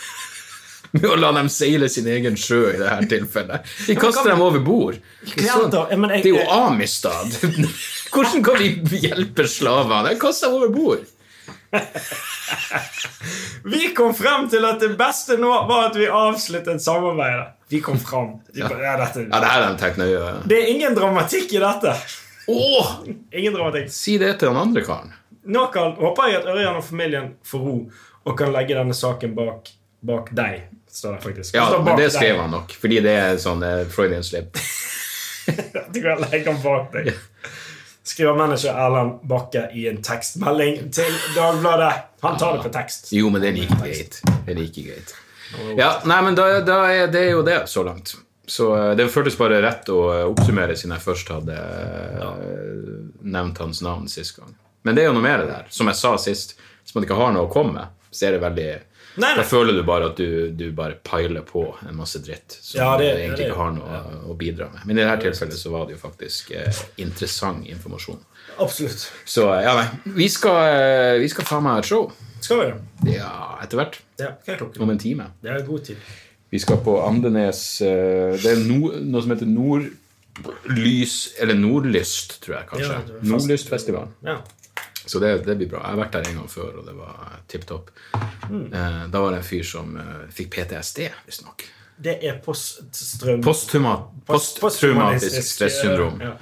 S1: Med å la dem seile sin egen sjø i dette tilfellet. De kaster dem over bord. Det er sånn-
S2: Klienter, men jeg-
S1: det er jo Amistad. Hvordan kan vi hjelpe slavene? Kast dem over bord.
S2: Vi kom frem til at det beste nå var at vi avsluttet samarbeidet. Vi kom frem. De, ja, dette,
S1: Ja, det her er de tenkt nøye.
S2: Det er ingen dramatikk i dette.
S1: Åh!
S2: Ingen dramatikk.
S1: Si det til den andre karen.
S2: Nå kan, håper jeg at Ørjan og familien får ro og kan legge denne saken bak, bak deg. Står det faktisk.
S1: Ja,
S2: står
S1: men
S2: bak
S1: det
S2: deg.
S1: skrev han nok, fordi det er sånn eh, Freudian slip.
S2: Du kan legge den bak deg. skriver manager Erlend Bakke i en tekstmelding til Dagbladet. Han tar det på tekst.
S1: Jo, men den gikk greit. Den gikk greit. Ja, nei, men da, da er det jo det så langt. Så eh, det føltes bare rett å eh, oppsummere siden jeg først hadde eh, nevnt hans navn sist gang. Men det er jo noe mer det der. Som jeg sa sist, hvis man ikke har noe å komme med, så er det veldig
S2: Nei, nei.
S1: Da føler du bare at du, du bare peiler på en masse dritt som
S2: Ja, det-
S1: du egentlig
S2: det-
S1: ikke har noe å bidra med. Men i dette tilfellet så var det jo faktisk eh, interessant informasjon.
S2: Absolutt.
S1: Så eh, ja, nei. Vi skal, eh, vi skal faen meg ha et show.
S2: Skal vi det?
S1: Ja, etter hvert.
S2: Ja, hva er klokken?
S1: Om en time.
S2: Det er god tid.
S1: Vi skal på Andenes eh, Det er no, noe som heter Nordlys Eller Nordlyst, tror jeg kanskje.
S2: Ja, det er fast-
S1: Nordlystfestivalen.
S2: Ja.
S1: Så det, det blir bra. Jeg har vært der en gang før, og det var tipp topp.
S2: Hmm.
S1: Eh, da var det en fyr som eh, fikk PTSD, visstnok.
S2: Det er poststrøm...
S1: Posttrauma-
S2: Post- eh,
S1: Posttraumatisk Eh, stressyndrom.
S2: Ja.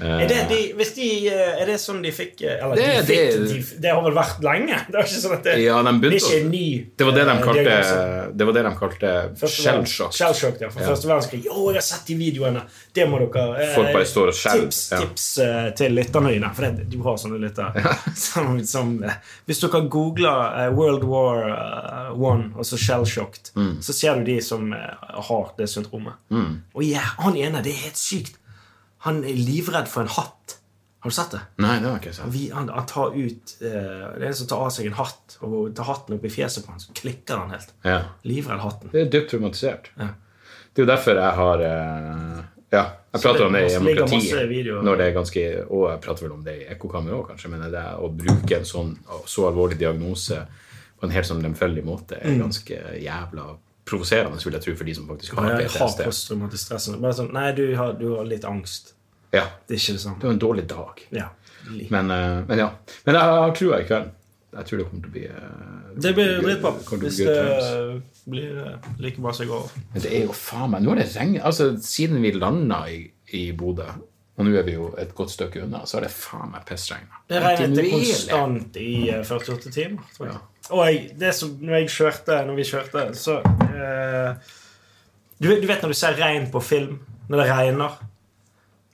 S2: Er det, de, hvis de, eh, er det sånn de fikk eh, Eller
S1: Det-
S2: de fikk,
S1: det-
S2: de, det har vel vært lenge? Det er ikke sånn at det,
S1: Ja, de begynte
S2: det er ikke
S1: å-
S2: en ny
S1: Det var det de
S2: eh,
S1: kalte,
S2: diagnose.
S1: det var det de kalte
S2: Første verden-
S1: shellshock.
S2: Shellshock, ja. Fra første verdenskrig. Å, jeg har sett de videoene! Det må dere eh,
S1: Folk bare står og skjelver,
S2: Tips,
S1: ja.
S2: tips eh, til lytterne dine. For det, du har sånne lyttere. som, som, eh, hvis dere googler eh, World War eh, One og så shellshocked,
S1: Mm.
S2: så ser du de som eh, har det syndromet. Og ja, han ene, det er helt sykt. Han er livredd for en hatt. Har du sett det?
S1: Nei, det var ikke sant.
S2: Vi, han, han tar ut eh, Det er en som tar av seg en hatt, og tar hatten opp i fjeset på han, så klikker han helt.
S1: Ja.
S2: Livredd hatten.
S1: Det er dypt traumatisert. Det er jo derfor jeg har eh, Ja, jeg prater om det i
S2: masse- ligger masse
S1: demokrati.
S2: videoer.
S1: Når det er ganske, og jeg prater vel om det i Ekkokammer òg, kanskje. Men det å bruke en sånn så alvorlig diagnose på en helt sånn lemfeldig måte er
S2: Mm.
S1: ganske jævla provoserende, vil jeg tro, for de som faktisk har
S2: Jeg har
S1: PTSD.
S2: posttraumatisk stress. Bare sånn, nei, du har, du har litt angst.
S1: Ja,
S2: Det er ikke det
S1: det
S2: samme.
S1: var en dårlig dag.
S2: Ja. Det
S1: Men, eh, men ja. Men jeg har trua i kveld. Jeg tror det kommer til å bli eh,
S2: blir
S1: good-
S2: dritbra
S1: kommer til å bli
S2: hvis
S1: good
S2: det
S1: times.
S2: blir eh, like bra som i går.
S1: Men det er jo faen meg Nå har det regnet Altså, siden vi landa i, i Bodø, og nå er vi jo et godt stykke unna, så har det faen meg pissregna.
S2: Det regnet det
S1: Kontinuerlig.
S2: konstant i eh, 48 timer. Tror jeg. Og jeg, det som, når, jeg kjørte, når vi kjørte, så eh, du, vet- du vet når du ser regn på film, når det regner?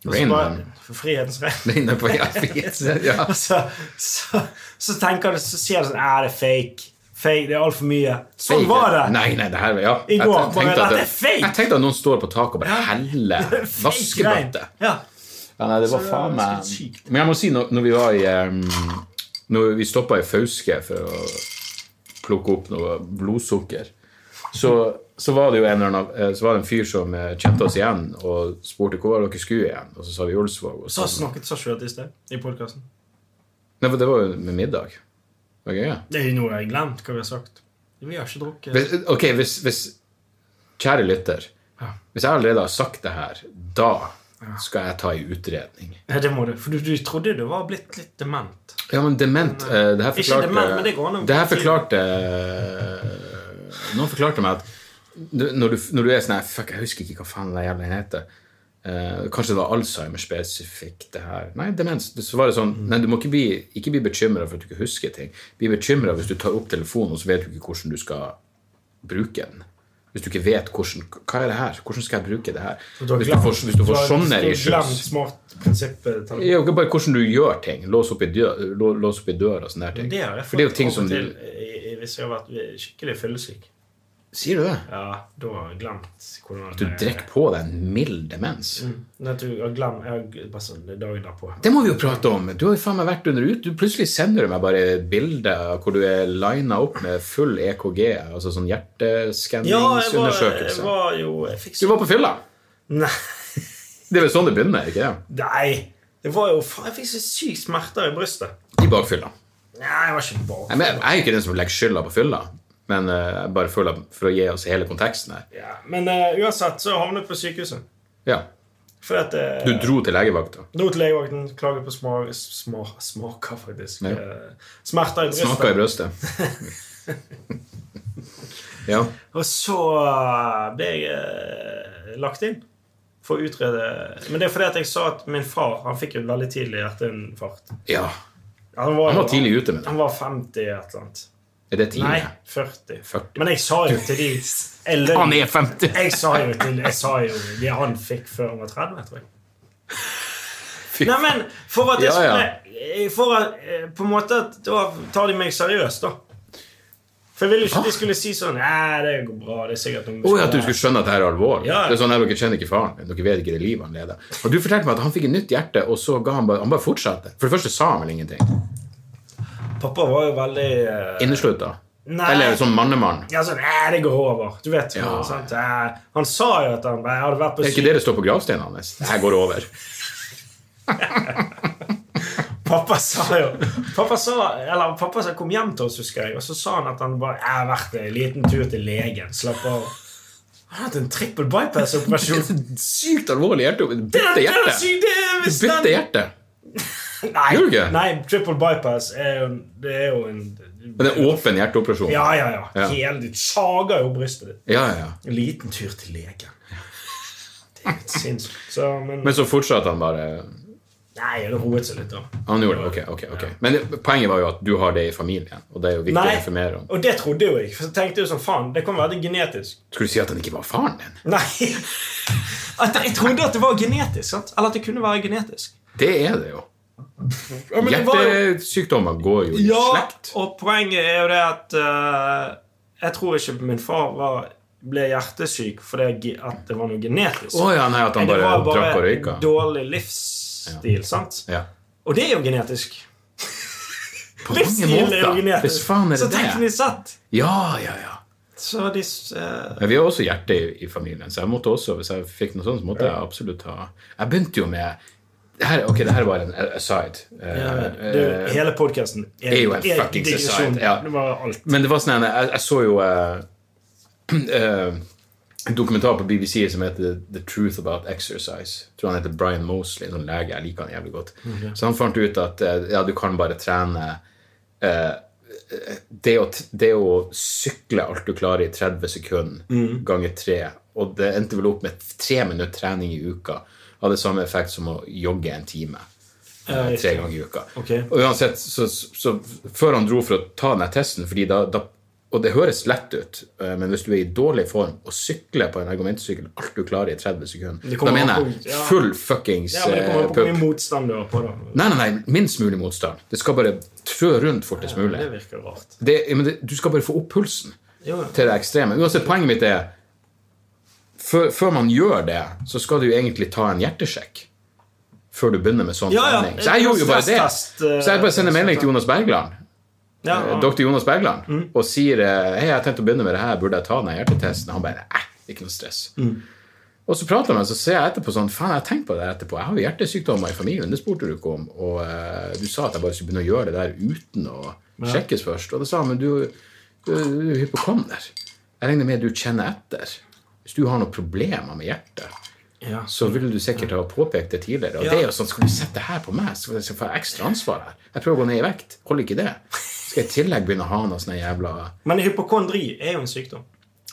S2: og så
S1: Rain
S2: bare-
S1: Man.
S2: Frihetens regn.
S1: Det er inne på ja, ja.
S2: Og så, så, så tenker du, så sier du sånn Er det er fake? Fake, Det er altfor mye. Sånn var det!
S1: Nei, nei, det her ja.
S2: I går,
S1: Jeg tenkte
S2: bare,
S1: at det-
S2: dette er fake!
S1: Jeg tenkte at noen står på taket og bare
S2: Det
S1: heller
S2: er fake
S1: vaskebøtte.
S2: regn. Ja.
S1: Ja, nei, det var
S2: Så det var
S1: faen meg
S2: ganske sykt.
S1: Men jeg må si, når, når vi var i um, Når vi stoppa i Fauske for å plukke opp noe blodsukker, så, så var det jo en eller annen eh, Så var det en fyr som eh, kjente oss igjen og spurte hvor var dere skulle igjen, og så sa vi Olsvåg. Og
S2: Så
S1: så,
S2: snakket Sasha i sted, i podkasten.
S1: nei, for det var jo med middag. Det var gøy, ja.
S2: Det er jo noe jeg har glemt hva vi har sagt. Vi har ikke drukket.
S1: Hvis, ok, hvis, hvis Kjære lytter. Hvis jeg allerede har sagt det her, da skal jeg ta en utredning.
S2: Nei, det må du, for du, du trodde du var blitt litt dement.
S1: Ja, men dement eh, Det her
S2: Ikke
S1: forklarte
S2: dement, men det går an å-
S1: det her forklarte eh, Noen forklarte meg at du- når du, når du er sånn her Fuck, jeg husker ikke hva faen det jævla heter. Eh, kanskje det var Alzheimer spesifikt, det her. Nei, demens. Så var det
S2: Mm.
S1: sånn Nei, du må ikke bli, ikke bli bekymra for at du ikke husker ting. Bli bekymra hvis du tar opp telefonen, og så vet du ikke hvordan du skal bruke den. Hvis du ikke vet hvordan Hva er det her? Hvordan skal jeg bruke det her?
S2: har
S1: Hvis du
S2: glemt-
S1: får, hvis du får
S2: har-
S1: sånne
S2: du har
S1: issues
S2: Glemt smart prinsippet. Tom.
S1: ja, ikke bare hvordan du gjør ting. Lås opp i, dø lå- lås opp i døra og sånne her ting.
S2: Det har jeg
S1: For det er jo
S2: fått
S1: ting
S2: av
S1: som du
S2: og til i- i- hvis jeg har vært skikkelig fyllesyk.
S1: Sier du det?
S2: Ja, da har jeg glemt hvordan
S1: Du drikker på deg en mild demens.
S2: Nei, du har glemt jeg har, bare sånn, det er dagen derpå.
S1: Det må vi jo prate om! Du har jo faen meg vært under ut. Du plutselig sender du meg bare bilder hvor du er lina opp med full EKG, altså sånn
S2: Ja, jeg var, jeg
S1: hjerteskanningsundersøkelse.
S2: var jo jeg fikk
S1: Du
S2: så,
S1: var på fylla!
S2: Nei.
S1: Det er vel sånn det begynner, ikke det?
S2: Nei! Det var jo, faen, jeg fikk så sykt smerter i brystet.
S1: I bakfylla.
S2: Nei, jeg var ikke bak.
S1: Nei, men Jeg jeg er jo ikke den som legger skylda på fylla, men eh, bare for, for å gi oss hele konteksten her.
S2: Ja, men eh, uansett så havnet jeg på sykehuset.
S1: Ja.
S2: Fordi at eh,
S1: Du dro til legevakta.
S2: Dro til legevakten, klaget på smak, sma, smaker, faktisk.
S1: Ja.
S2: Eh, Smerter i brystet.
S1: Snakka i brøstet. ja.
S2: Og så eh, ble jeg eh, lagt inn for å utrede Men det er fordi at jeg sa at min far han fikk jo en veldig tidlig hjerteinfarkt.
S1: ja.
S2: Han var,
S1: Han var tidlig ute med det.
S2: Han var 50 et eller annet.
S1: Er det tidlig?
S2: Nei, 40.
S1: 40.
S2: Men jeg sa jo til de jeg løy.
S1: Han er 50!
S2: Jeg sa jo til Jeg sa jo det han fikk før han var 30, tror jeg.
S1: Fy
S2: Nei, men for at jeg
S1: Ja, ja.
S2: skulle For at, eh, på en måte at Da tar de meg seriøst, da. For jeg ville jo ikke at de skulle si sånn Nei, det går bra. Det er sikkert noen
S1: Å ja, at du skulle skjønne at det her er alvorlig.
S2: Ja.
S1: Det er sånn at Dere kjenner ikke faren din. Dere vet ikke det livet han leder. Og Du fortalte meg at han fikk et nytt hjerte, og så ga han bare Han bare fortsatte. For det første sa han vel ingenting.
S2: Pappa var jo veldig eh,
S1: Inneslutta.
S2: Nei.
S1: Eller sånn mannemann.
S2: ja, sånn, Nei, det går over. Du vet jo,
S1: Ja.
S2: sant? Nei, Han sa jo at han jeg hadde vært på
S1: Det er ikke
S2: syk...
S1: det det står på gravsteinen hans. Det her går over.
S2: Pappa sa jo Pappa sa, eller pappa sa, kom hjem til oss, husker jeg, og så sa han at han bare Jeg har vært en liten tur til legen. Slapp av. Han har hatt en trippel bypass-operasjon.
S1: Sykt alvorlig hjerte.
S2: Det
S1: Bytte
S2: er
S1: hjerte.
S2: sykt, det er hvis den-
S1: Bytte hjerte.
S2: Nei,
S1: Gjør du ikke?
S2: nei, triple bypass er jo, det er jo en
S1: Men det er åpen hjerteoperasjon.
S2: Ja, ja, ja.
S1: Ja.
S2: Hele, du sager jo brystet ditt.
S1: Ja, ja, ja.
S2: En liten tur til legen. Det er helt sinnssykt. Så, men,
S1: Men så fortsatte han bare
S2: Nei, det roet seg litt, da.
S1: Han gjorde det, ok, ok, ok Men det- poenget var jo at du har det i familien, og det er jo viktig
S2: Nei,
S1: å informere om.
S2: og det trodde jo jeg. For så tenkte jeg jo sånn, faen, det kan være det genetisk.
S1: Skulle du si at han ikke var faren din?
S2: Nei! At jeg trodde at det var genetisk. sant? Eller at det kunne være genetisk.
S1: Det er det jo.
S2: Ja, men det var jo-
S1: Hjertesykdommer går jo i
S2: Ja,
S1: slekt.
S2: og poenget er jo det at eh, Jeg tror ikke min far var, ble hjertesyk fordi ge- at det var noe genetisk.
S1: Å ja, nei, at han
S2: Men det
S1: bare,
S2: var bare
S1: drakk og røyka.
S2: dårlig livsstil, sant?
S1: Ja.
S2: Og det er jo genetisk.
S1: På mange
S2: Livsstil er jo
S1: måter. Hvis
S2: genetisk.
S1: faen er
S2: Så
S1: det det?
S2: teknisk sett
S1: Ja, ja, ja.
S2: så de, s- eh,
S1: Men vi har også hjerte i, i familien, så jeg måtte også, hvis jeg fikk noe sånt, så måtte jeg absolutt ha Jeg begynte jo med det her, Ok, det her var en aside. Eh,
S2: du, Hele podkasten
S1: er jo en fucking society, ja.
S2: Det var alt.
S1: Men det var sånn en- Jeg, jeg så jo eh, eh, en dokumentar på BBC som heter The Truth About Exercise. Jeg tror han heter Brian Mosley, en sånn lege. Jeg liker han jævlig godt. Så han fant ut at eh, ja, du kan bare trene eh, det, å, t- det å sykle alt du klarer i 30 sekunder
S2: Mm.
S1: ganger 3, og det endte vel opp med tre minutter trening i uka, hadde samme effekt som å jogge en time. eh,
S2: riktig.
S1: Tre ganger i uka.
S2: Ok.
S1: Og uansett, så, så, så før han dro for å ta denne testen fordi da, da, Og det høres lett ut, eh, men hvis du er i dårlig form og sykler på en argumentsykkel alt du klarer i 30 sekunder,
S2: Det
S1: da
S2: kommer
S1: mener
S2: an på-
S1: jeg
S2: ja.
S1: full fuckings
S2: Ja, men det kommer
S1: eh,
S2: an på hvor
S1: pupp.
S2: mye motstand du har på det.
S1: Nei, nei, nei, minst mulig motstand. Det skal bare trø rundt fortest mulig.
S2: Det virker rart.
S1: Det, men det, du skal bare få opp pulsen
S2: Jo, ja.
S1: til det ekstreme. Uansett, poenget mitt er før, før man gjør det, så skal du jo egentlig ta en hjertesjekk. Før du begynner med sånn
S2: Ja, ja.
S1: trening. Så jeg gjorde jo bare det.
S2: Stresstest, eh,
S1: Så jeg bare sender melding til Jonas Bergland,
S2: Ja,
S1: eh,
S2: ja.
S1: doktor Jonas Bergland, og sier eh, Hei, jeg har tenkt å begynne med det her, burde jeg ta den hjertetesten? Han bare Æh, ikke noe stress. Og så prater man, så ser jeg etterpå sånn Faen, jeg har tenkt på det her etterpå. Jeg har jo hjertesykdommer i familien, det spurte du ikke om. Og eh, du sa at jeg bare skulle begynne å gjøre det der uten å sjekkes først. Og da sa han men du, du, du er hypokonder. Jeg regner med du kjenner etter. Hvis du har noen problemer med hjertet,
S2: Ja.
S1: så ville du sikkert ha påpekt det tidligere. Og
S2: Ja.
S1: det er jo sånn, Skal du sette det her på meg, så får jeg få ekstra ansvar her. Jeg prøver å gå ned i vekt. Holder ikke det. Skal jeg i tillegg begynne å ha noe sånn jævla
S2: Men hypokondri er jo en sykdom.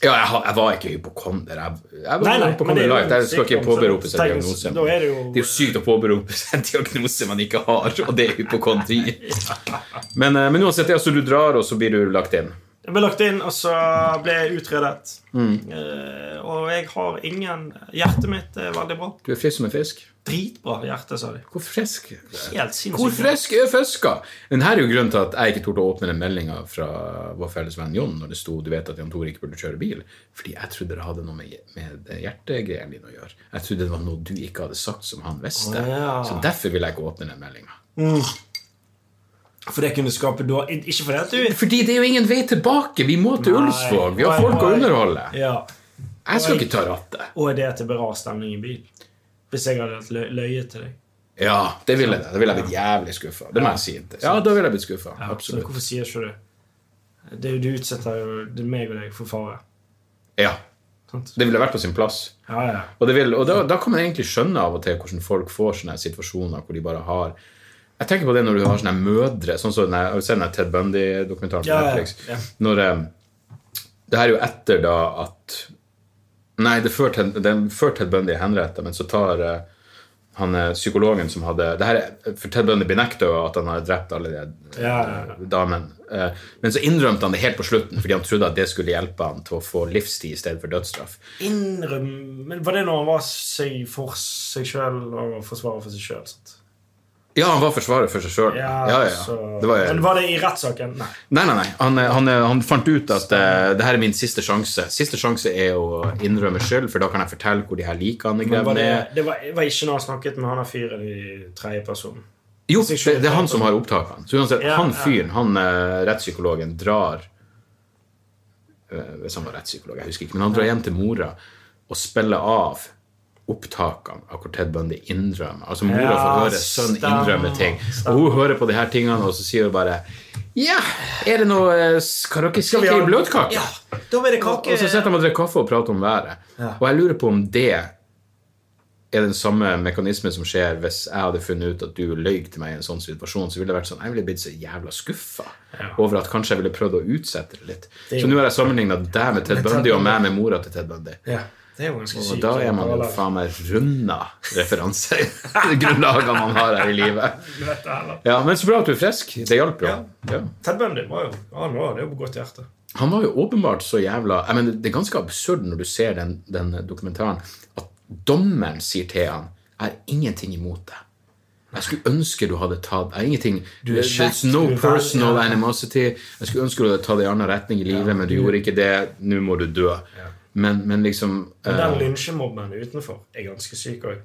S1: Ja, jeg, har- jeg var ikke hypokonder. Jeg, jeg var
S2: Nei, nei, men det
S1: hypokonder
S2: er jo
S1: light. Jeg
S2: en
S1: skal ikke
S2: sykdom, så
S1: påberope seg
S2: da-
S1: diagnose.
S2: da er det jo-
S1: det er jo sykt å påberope seg en diagnose man ikke har, og det er hypokondri. Men, eh, men uansett, altså, du drar, og så blir du lagt inn.
S2: Jeg ble lagt inn, og så ble jeg utredet.
S1: Mm.
S2: Eh, og jeg har ingen Hjertet mitt er veldig bra.
S1: Du er frisk som en fisk.
S2: Dritbra hjerte, sa de.
S1: Hvor frisk
S2: Helt sinnssykt.
S1: Hvor frisk er fiska? Men her er jo grunnen til at jeg ikke torde å åpne den meldinga fra vår felles venn Jon når det sto du vet at Jan Tore ikke burde kjøre bil, fordi jeg trodde det hadde noe med, med hjertegreiene dine å gjøre. Jeg trodde det var noe du ikke hadde sagt som han visste.
S2: Å, ja.
S1: Så derfor ville jeg ikke åpne den meldinga.
S2: For det kunne skape da Ikke fordi at du
S1: Fordi det er jo ingen vei tilbake! Vi må til Ulsvåg! Vi har folk å underholde!
S2: Ja.
S1: Jeg skal ikke ta rattet.
S2: Og det at det blir rar stemning i bil. Hvis jeg hadde hatt lø- løyet til deg.
S1: Ja, det ville jeg. Da ville jeg blitt jævlig skuffa. Det må jeg si. Ja, da ville jeg blitt skuffa.
S2: Så
S1: Absolutt.
S2: hvorfor sier ikke du det? det? er jo- Du utsetter jo det er meg og deg for fare.
S1: Ja.
S2: Sant?
S1: Det ville vært på sin plass.
S2: Ja, ja.
S1: Og, det vil, og da, da kan man egentlig skjønne av og til hvordan folk får sånne situasjoner hvor de bare har Jeg tenker på det når du har sånne mødre Sånn som den her- har du sett den her Ted Bundy-dokumentaren på
S2: Ja, ja,
S1: Netflix.
S2: ja.
S1: Når eh, Det her er jo etter da at Nei, det er før Ted, det er før Ted Bundy er henrettet, men så tar eh, han eh, psykologen som hadde det her, er- For Ted Bundy benekta jo at han hadde drept alle de
S2: Ja, ja, ja.
S1: damen. Eh, Men så innrømte han det helt på slutten fordi han trodde at det skulle hjelpe han til å få livstid i stedet for dødsstraff.
S2: Innrøm Men var det når han var seg for seg sjøl og forsvarer for seg sjøl?
S1: Ja, han var forsvarer for seg sjøl. Ja, ja,
S2: Så...
S1: Det var,
S2: Men var det i rettssaken? Nei.
S1: nei, nei, nei. Han, eh, han, han fant ut at eh, det her er min siste sjanse. Siste sjanse er å innrømme skyld, for da kan jeg fortelle hvor de her likene
S2: Men var
S1: grevne
S2: det,
S1: er.
S2: det var, var ikke når han snakket med han der fyren i tredje person.
S1: Jo, det, det er han som har opptakene. Så uansett,
S2: Ja,
S1: han
S2: ja.
S1: fyren, han eh, rettspsykologen, drar eh, Hvis han var rettspsykolog, jeg husker ikke, men han drar hjem til mora og spiller av opptakene av hvor Ted Bundy innrømmer. Altså mora
S2: Ja,
S1: får høre sønnen
S2: stemmer,
S1: innrømme ting, og hun hører på de her tingene, og så sier hun bare Ja, er det noe eh, Kan dere stikke i bløtkake?
S2: Ja, da ble det
S1: Og
S2: kake.
S1: og så sitter de og drikker kaffe og prater om været. Og jeg lurer på om det er den samme mekanismen som skjer hvis jeg hadde funnet ut at du løy til meg i en sånn situasjon. Så ville det vært sånn, jeg ville blitt så jævla skuffa over at kanskje jeg ville prøvd å utsette det litt.
S2: Det
S1: så
S2: er jo-
S1: nå har jeg sammenligna deg med Ted
S2: Ted
S1: Bundy og
S2: Bundy.
S1: meg med mora til Ted Bundy.
S2: Ja, det er jo ganske sykt.
S1: Og
S2: sånn
S1: da er man jo faen meg runda referansegrunnlagene man har her i livet. Ja, Men så bra at du er frisk. Det hjalp jo. Ja.
S2: Ted Bundy var jo han var, det er jo på godt hjerte.
S1: Han var jo åpenbart så jævla jeg mener, Det er ganske absurd når du ser den, den dokumentaren, at dommeren sier til han Jeg har ingenting imot deg. Jeg skulle ønske du hadde tatt Jeg har ingenting
S2: er
S1: There's
S2: kjekk,
S1: no
S2: du er vel-
S1: personal
S2: ja.
S1: animosity. Jeg skulle ønske du hadde tatt det i annen retning i livet, men du gjorde ikke det. Nå må du dø. Men, men liksom
S2: Men den
S1: eh,
S2: lynsjemobben utenfor er ganske syk òg.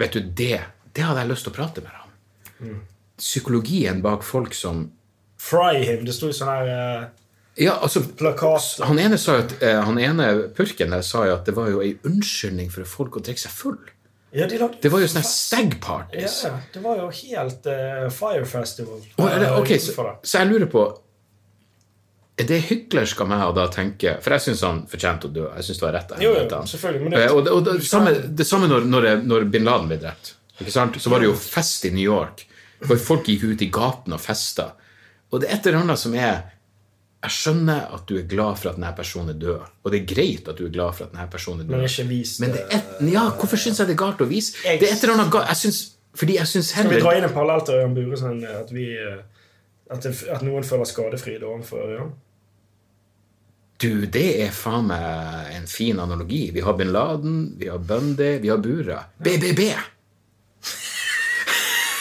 S1: Vet du, det Det hadde jeg lyst til å prate med deg om.
S2: Mm.
S1: Psykologien bak folk som
S2: Fry him. Det sto jo sånn her eh,
S1: Ja, altså
S2: plakat
S1: Han ene, sa jo at, eh, han ene purken der sa jo at det var jo ei unnskyldning for folk å drikke seg full.
S2: ja, de lagde,
S1: Det var jo sånn sånne stag parties.
S2: ja, det var jo helt eh, Fire Festival.
S1: Og, eller, ok,
S2: eh,
S1: så,
S2: utenfor der.
S1: så jeg lurer på Er det hyklersk av meg å da tenke For jeg syns han fortjente å dø. Jeg synes det var rett. av
S2: Jo, jo,
S1: helvete.
S2: selvfølgelig, men det-
S1: Eh, og det, og det, samme, det samme når, når, det- når bin Laden ble drept. Ikke sant? Så var det jo fest i New York. For folk gikk ut i gaten og festa. Og det er et eller annet som er Jeg skjønner at du er glad for at denne personen er død. Og det er greit at du er glad for at denne personen er død.
S2: Men ikke vis
S1: Men det er et, ja, hvorfor syns jeg det er galt å vise?
S2: Jeg-
S1: Det er et eller annet galt, jeg synes, fordi jeg syns
S2: Skal vi
S1: heller
S2: dra inn en parallell til Ørjan Bure? Sånn eh, at, vi, eh, at, det, at noen føler skadefryd overfor Ørjan?
S1: Du, det er faen meg en fin analogi. Vi har bin Laden, vi har Bundy, vi har Bura. BBB!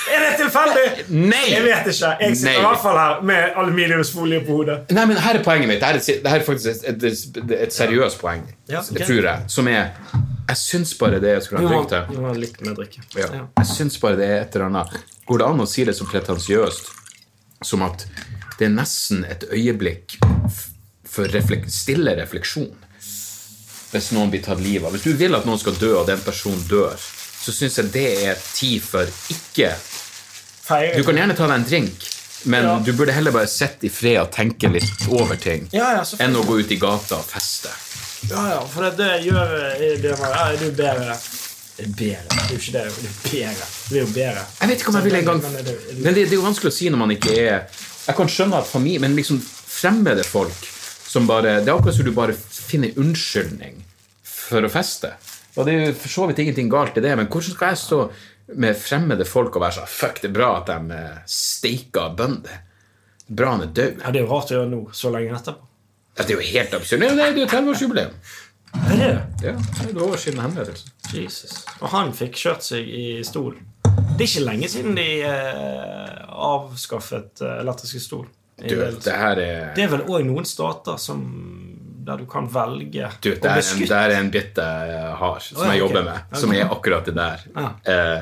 S2: Er det tilfeldig?
S1: Nei!
S2: Jeg vet ikke. Jeg sitter
S1: Nei.
S2: i hvert fall her med aluminiumsfolie på hodet.
S1: Nei, men her er poenget mitt. Dette er, det her er faktisk et, et, et seriøst poeng,
S2: Ja, ok.
S1: tror jeg, som er Jeg syns bare det skulle ha drukket det.
S2: må ha litt mer drikke.
S1: Ja. Jeg syns bare det er et eller annet Går det an å si det så pretensiøst som at det er nesten et øyeblikk f- for reflek stille refleksjon hvis noen blir tatt livet av? Hvis du vil at noen skal dø, og den personen dør, så syns jeg det er tid for ikke
S2: Feire.
S1: Du kan gjerne ta deg en drink, men
S2: Ja.
S1: du burde heller bare sitte i fred og tenke litt over ting
S2: Ja, ja, selvfølgelig.
S1: enn å gå ut i gata og feste.
S2: Ja, ja, for det, det gjør eh, det man, ja, Er du bedre? Er du bedre? Det er jo ikke det. Du er bedre. Du er jo bedre.
S1: Jeg vet ikke om jeg vil
S2: Så
S1: engang
S2: den- den er du- er du-
S1: Men det, det er jo vanskelig å si når man ikke er Jeg kan skjønne at familie Men liksom fremmede folk som bare Det er akkurat som du bare finner unnskyldning for å feste. Og det er jo for så vidt ingenting galt i det, men hvordan skal jeg stå med fremmede folk og være sånn Fuck, det er bra at de eh, steiker bønder. Bra han er død.
S2: Ja, det er jo rart å gjøre nå, så lenge etterpå.
S1: Ja, Det er jo helt absurd. Nei, nei, det er jo 30-årsjubileum.
S2: Er det det?
S1: Ja, det er et år siden henrettelsen.
S2: Jesus. Og han fikk kjørt seg i stol. Det er ikke lenge siden de eh, avskaffet eh, elektriske stol. i
S1: Du,
S2: Wales.
S1: det her er
S2: Det er vel òg noen stater som, der du kan velge
S1: Du, det
S2: å
S1: er, en,
S2: beskytte
S1: det er en bit jeg har, som
S2: Å, ja,
S1: jeg
S2: ok.
S1: jobber med, som er akkurat det der.
S2: Ja.
S1: Eh,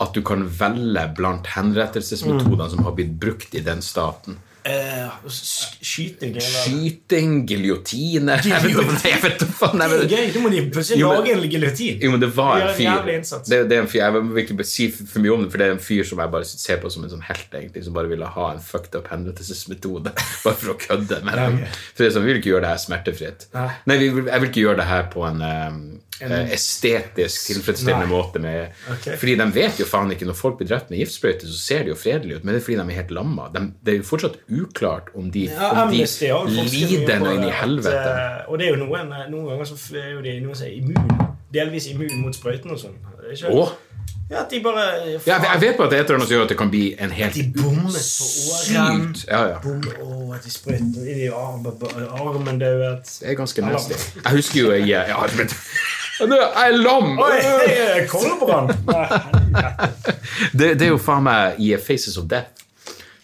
S1: at du kan velge blant henrettelsesmetodene
S2: Mm.
S1: som har blitt brukt i den staten.
S2: eh, sk- skyting. eller-
S1: Skyting, giljotine Jeg vet ikke- jeg vet ikke faen, jeg
S2: Det er
S1: vet-
S2: gøy. Du må de plutselig
S1: Jo, men-
S2: lage en giljotin.
S1: Jo, men det var
S2: Gjør
S1: en
S2: en
S1: fyr.
S2: jævlig innsats.
S1: Det, det er en fyr Jeg vil ikke si for mye om det, for det er en fyr som jeg bare ser på som en sånn helt, egentlig, som bare ville ha en fucked up henrettelsesmetode. Bare for å kødde med dem.
S2: ok.
S1: For det er sånn, Vi vil ikke gjøre det her smertefritt.
S2: Nei.
S1: Nei, vi vil, Jeg vil ikke gjøre det her på en eh, eh, estetisk tilfredsstillende
S2: Nei.
S1: måte. Med,
S2: Ok.
S1: Fordi de vet jo faen ikke Når folk blir drept med giftsprøyte, så ser det jo fredelig ut, men det er fordi de er helt lamma. De, det er jo fortsatt uklart om de,
S2: Ja,
S1: om de
S2: Amnesty har jo forsket mye
S1: lider
S2: på
S1: noe inn i
S2: det, at,
S1: helvete.
S2: eh, Og det er jo noen, noen ganger så f- er jo de noen som er immun, delvis immun mot sprøyten og sånn. Er det ikke?
S1: Åh.
S2: Ja, at de bare
S1: Ja, jeg- jeg vet på at det er et eller annet som gjør at det kan bli en helt
S2: De bommet på åren.
S1: sykt Mm. ja, ja.
S2: Bom, å, at de sprøyter i de armen, armen dauet.
S1: Det er ganske nasty. Jeg husker jo jeg, jeg, jeg, jeg, jeg, jeg er lam!
S2: Oi, det er kolbrann! Nei,
S1: det, det er jo faen meg i Faces of Death.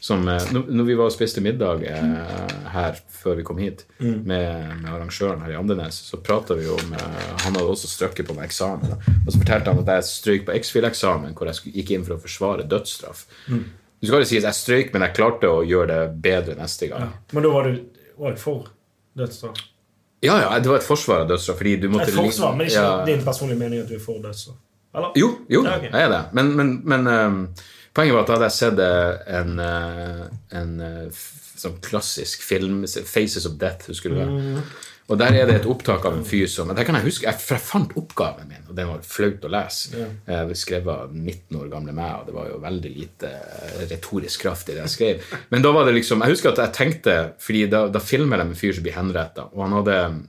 S1: Som, eh, når når vi var og spiste middag eh, her før vi kom hit,
S2: Mm.
S1: med, med arrangøren her i Andenes, så prata vi om eh, Han hadde også strøkket på meg eksamen. da. Og så fortalte han at jeg strøyk på X-Fil-eksamen, hvor jeg skulle- gikk inn for å forsvare dødsstraff.
S2: Mm.
S1: Du skal jo si at jeg strøyk, men jeg klarte å gjøre det bedre neste gang.
S2: Men da var du òg for dødsstraff?
S1: Ja, ja, det var et forsvar av dødsstraff. Fordi du måtte liksom-
S2: Et forsvar, men ikke
S1: Ja.
S2: din personlige mening at du er for dødsstraff? Eller?
S1: Jo, jo,
S2: Ja, ok.
S1: jeg er det. Men, men, men ehm, poenget var at da hadde jeg sett eh, en, eh, en eh, f- sånn klassisk film, 'Faces of Death', husker du det?
S2: Mm.
S1: Og der er det et opptak av en fyr som der kan Jeg huske, jeg, for jeg fant oppgaven min, og den var flaut å lese. Eh, Skrevet av 19 år gamle meg, og det var jo veldig lite eh, retorisk kraft i det jeg skrev. Men da var det liksom, jeg husker at jeg tenkte, fordi da, da filmer de en fyr som blir henrettet, og han hadde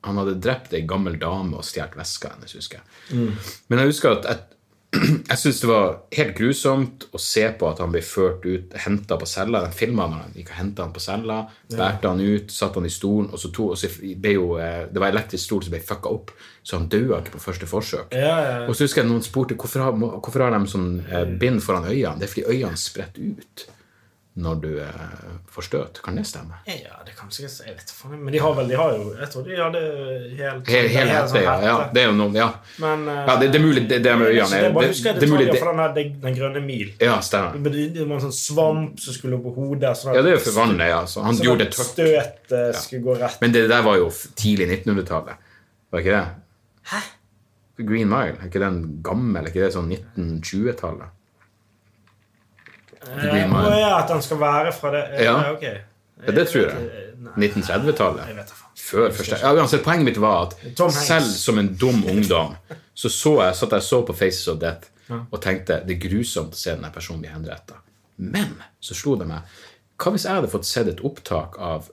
S1: han hadde drept ei gammel dame og stjålet veska hennes, husker jeg.
S2: Mm.
S1: Men jeg husker at jeg, jeg syntes det var helt grusomt å se på at han ble ført ut, henta på cella. Den filma når han gikk og henta han på cella, bærte han ut, satte han i stolen, og så to, og så ble jo, eh, det var elektrisk stol som ble fucka opp, så han døde ikke på første forsøk. Og så husker jeg noen spurte hvorfor har, må- hvorfor har de sånn eh, bind foran øynene. Det er fordi øynene spretter ut når du eh, får støt. Kan det stemme?
S2: Ja, det kan sikkert Jeg vet faen. Men de har vel de har jo Jeg tror de hadde helt sånn
S1: Hele, hele hette, ja, ja. Det er jo noe, ja.
S2: Men eh,
S1: Ja, det- det er mulig det- det med øynene er-
S2: Jeg bare
S1: det-
S2: husker
S1: det er mulig
S2: detaljer
S1: det-
S2: fra den, her, den, den grønne mil.
S1: Ja, stemmer.
S2: Men Det det var en sånn svamp som skulle opp på hodet. Sånn at-
S1: Ja, det er jo forvandlet, ja. Så han
S2: sånn
S1: gjorde
S2: at
S1: det tørt.
S2: Støt eh, skulle gå rett.
S1: Men det der var jo f- tidlig 1900-tallet. Var ikke det? Hæ? Green Mile, er ikke den gammel? Er ikke det sånn 1920-tallet?
S2: Eh,
S1: Green Mile.
S2: å ja, at den skal være fra det eh,
S1: Ja.
S2: ja, ok.
S1: Ja, det tror jeg.
S2: Eh, Nei, jeg
S1: 1930-tallet.
S2: vet da faen.
S1: Før første ja, uansett, Poenget mitt var at
S2: Tom Hanks.
S1: selv som en dum ungdom så så jeg satt jeg så på Faces of Death og tenkte det er grusomt å se denne personen bli henrettet. Men så slo det meg Hva hvis jeg hadde fått sett et opptak av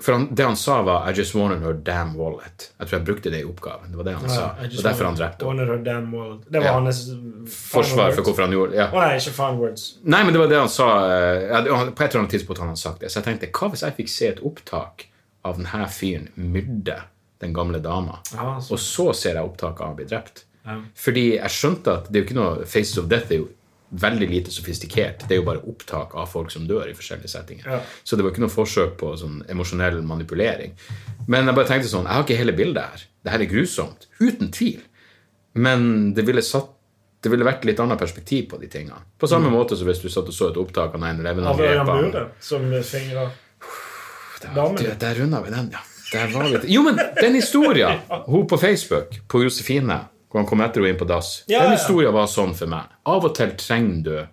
S1: For han, det han sa, var I just wanted her damn wallet. Jeg tror jeg brukte det i oppgaven. Det var det han sa.
S2: I
S1: Det
S2: just
S1: var derfor han
S2: wanted-
S1: drepte henne.
S2: wanted her damn world. Det var
S1: Ja.
S2: hans
S1: forsvar for hvorfor han gjorde
S2: Å
S1: ja.
S2: nei, ikke fine words.
S1: Nei, men det var det han sa eh, ja, det- han- På et eller annet tidspunkt han hadde sagt det. Så jeg tenkte, hva hvis jeg fikk se et opptak av denne fyren myrde den gamle dama,
S2: Ja, så-
S1: og så ser jeg opptaket av han blir drept? Fordi jeg skjønte at det er jo ikke noe Faces of Death er jo veldig lite sofistikert. Det er jo bare opptak av folk som dør i forskjellige settinger.
S2: Ja.
S1: Så det var ikke noe forsøk på sånn emosjonell manipulering. Men jeg bare tenkte sånn, jeg har ikke hele bildet her. Det her er grusomt. Uten tvil. Men det ville, satt, det ville vært litt annet perspektiv på de tingene. På samme
S2: Mm.
S1: måte som hvis du satt og så et opptak av 9-11
S2: Av Ørjan
S1: angrepene.
S2: Bure, som fingrer
S1: Der,
S2: damen.
S1: der, der runda vi den, ja. Der var vi. Jo, men den historia! Hun på Facebook, på Josefine, hvor han kom etter henne inn på dass.
S2: Ja,
S1: den
S2: ja.
S1: historia var sånn for meg. Av og til trenger du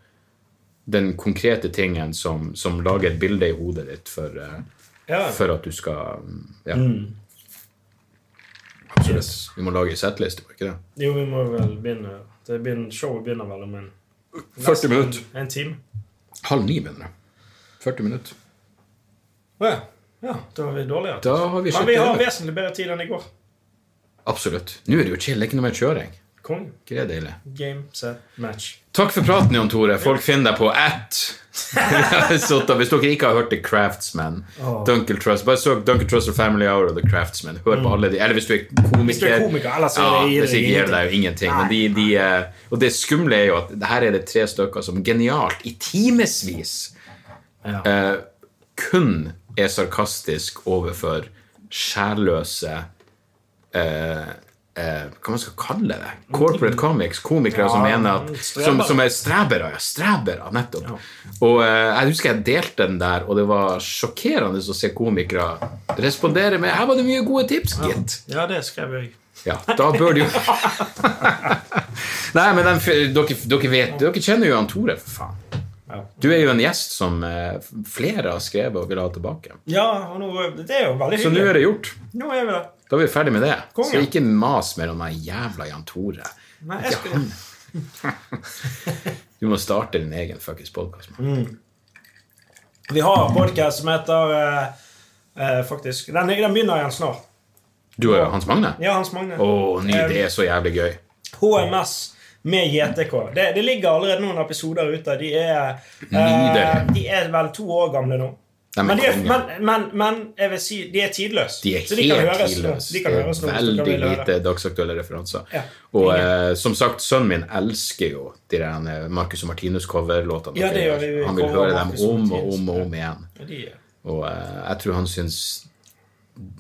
S1: den konkrete tingen som, som lager et bilde i hodet ditt for, eh,
S2: Ja. Mm.
S1: for at du skal mm, Ja. Absolutt. Vi må lage ei settliste, må vi ikke det?
S2: Jo, vi må vel begynne. Det begynner, showet begynner vel om en,
S1: 40 minutter.
S2: en time.
S1: Halv ni, mener jeg. 40 minutter.
S2: Å ja. ja. Da var vi dårligere.
S1: Da har vi
S2: Men vi har
S1: sjekket det.
S2: vesentlig bedre tid enn i går.
S1: Absolutt. Nå er det jo chill. Det er ikke noe mer kjøring.
S2: Kong.
S1: Ikke det deilig?
S2: Game, set, match.
S1: Takk for praten, Jan Tore. Folk finner deg på at Sotta, Hvis dere ikke har hørt The Craftsman, Dunkel Trust Bare søk Dunkel Trust og Family Hour og The Craftsman. Hør på alle de Eller hvis du er komiker.
S2: Mm. Hvis du er komiker, ellers så
S1: ja,
S2: gir det
S1: hvis ikke
S2: ingenting.
S1: gir det deg jo ingenting. Men de, de, eh, og det skumle er jo at her er det tre stykker som genialt, i timevis, eh, kun er sarkastisk overfor sjælløse eh, eh, hva man skal kalle det? Corporate comics, komikere som mener at som,
S2: strebere.
S1: som er strebere, ja, strebere, nettopp. Og eh, jeg husker jeg delte den der, og det var sjokkerende å se komikere respondere med 'Her var det mye gode tips, gitt'.
S2: Ja, det skrev jeg.
S1: Ja, da bør du jo Nei, men den, dere, dere vet Dere kjenner jo han Tore, for faen.
S2: Ja.
S1: Du er jo en gjest som eh, flere har skrevet og vil ha tilbake.
S2: Ja, og nå, det er jo veldig
S1: Så nå
S2: hyggelig.
S1: er det gjort.
S2: Nå er vi der.
S1: Da er vi ferdig med det.
S2: Konge.
S1: Så ikke mas mer om den jævla Jan Tore.
S2: Nei, jeg skal...
S1: Du må starte din egen fuckings podkast.
S2: Vi har en podcast som heter eh, eh, Faktisk den, den begynner igjen snart.
S1: Du og Hans Magne?
S2: Ja, Um, Hans Magne.
S1: Å, ny, det er så jævlig gøy.
S2: HMS med JTK. Det, det ligger allerede noen episoder ute. De er, eh,
S1: Nydelig.
S2: de er vel to år gamle nå.
S1: Nei, men
S2: Men, de er,
S1: konge.
S2: men, men, men jeg vil si de er tidløse.
S1: De er
S2: så de kan
S1: helt
S2: høres nå.
S1: tidløse.
S2: De kan høres nå hvis dere
S1: Veldig
S2: vil høre.
S1: lite dagsaktuelle referanser.
S2: Ja.
S1: Og
S2: Ingen.
S1: eh, som sagt, sønnen min elsker jo de der eh, Marcus og Martinus-coverlåtene.
S2: Ja, det gjør
S1: dere
S2: vi.
S1: Han vil
S2: Cover
S1: høre dem
S2: Marcus og
S1: om og
S2: Martinus.
S1: om og om igjen.
S2: Ja, de er-
S1: Og eh, jeg tror han syns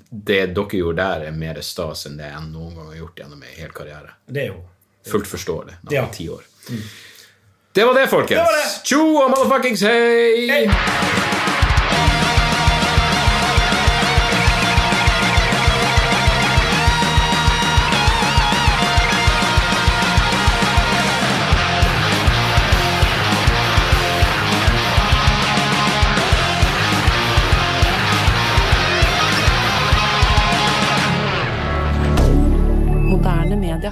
S1: det dere gjorde der, er mer stas enn det jeg noen gang har gjort gjennom min hel karriere.
S2: Det er jo
S1: Fullt forståelig. Når
S2: Ja.
S1: han er ti år. Det var det, folkens.
S2: var det.
S1: Tjo og motherfuckings hei!
S2: Hei!
S3: Moderne media.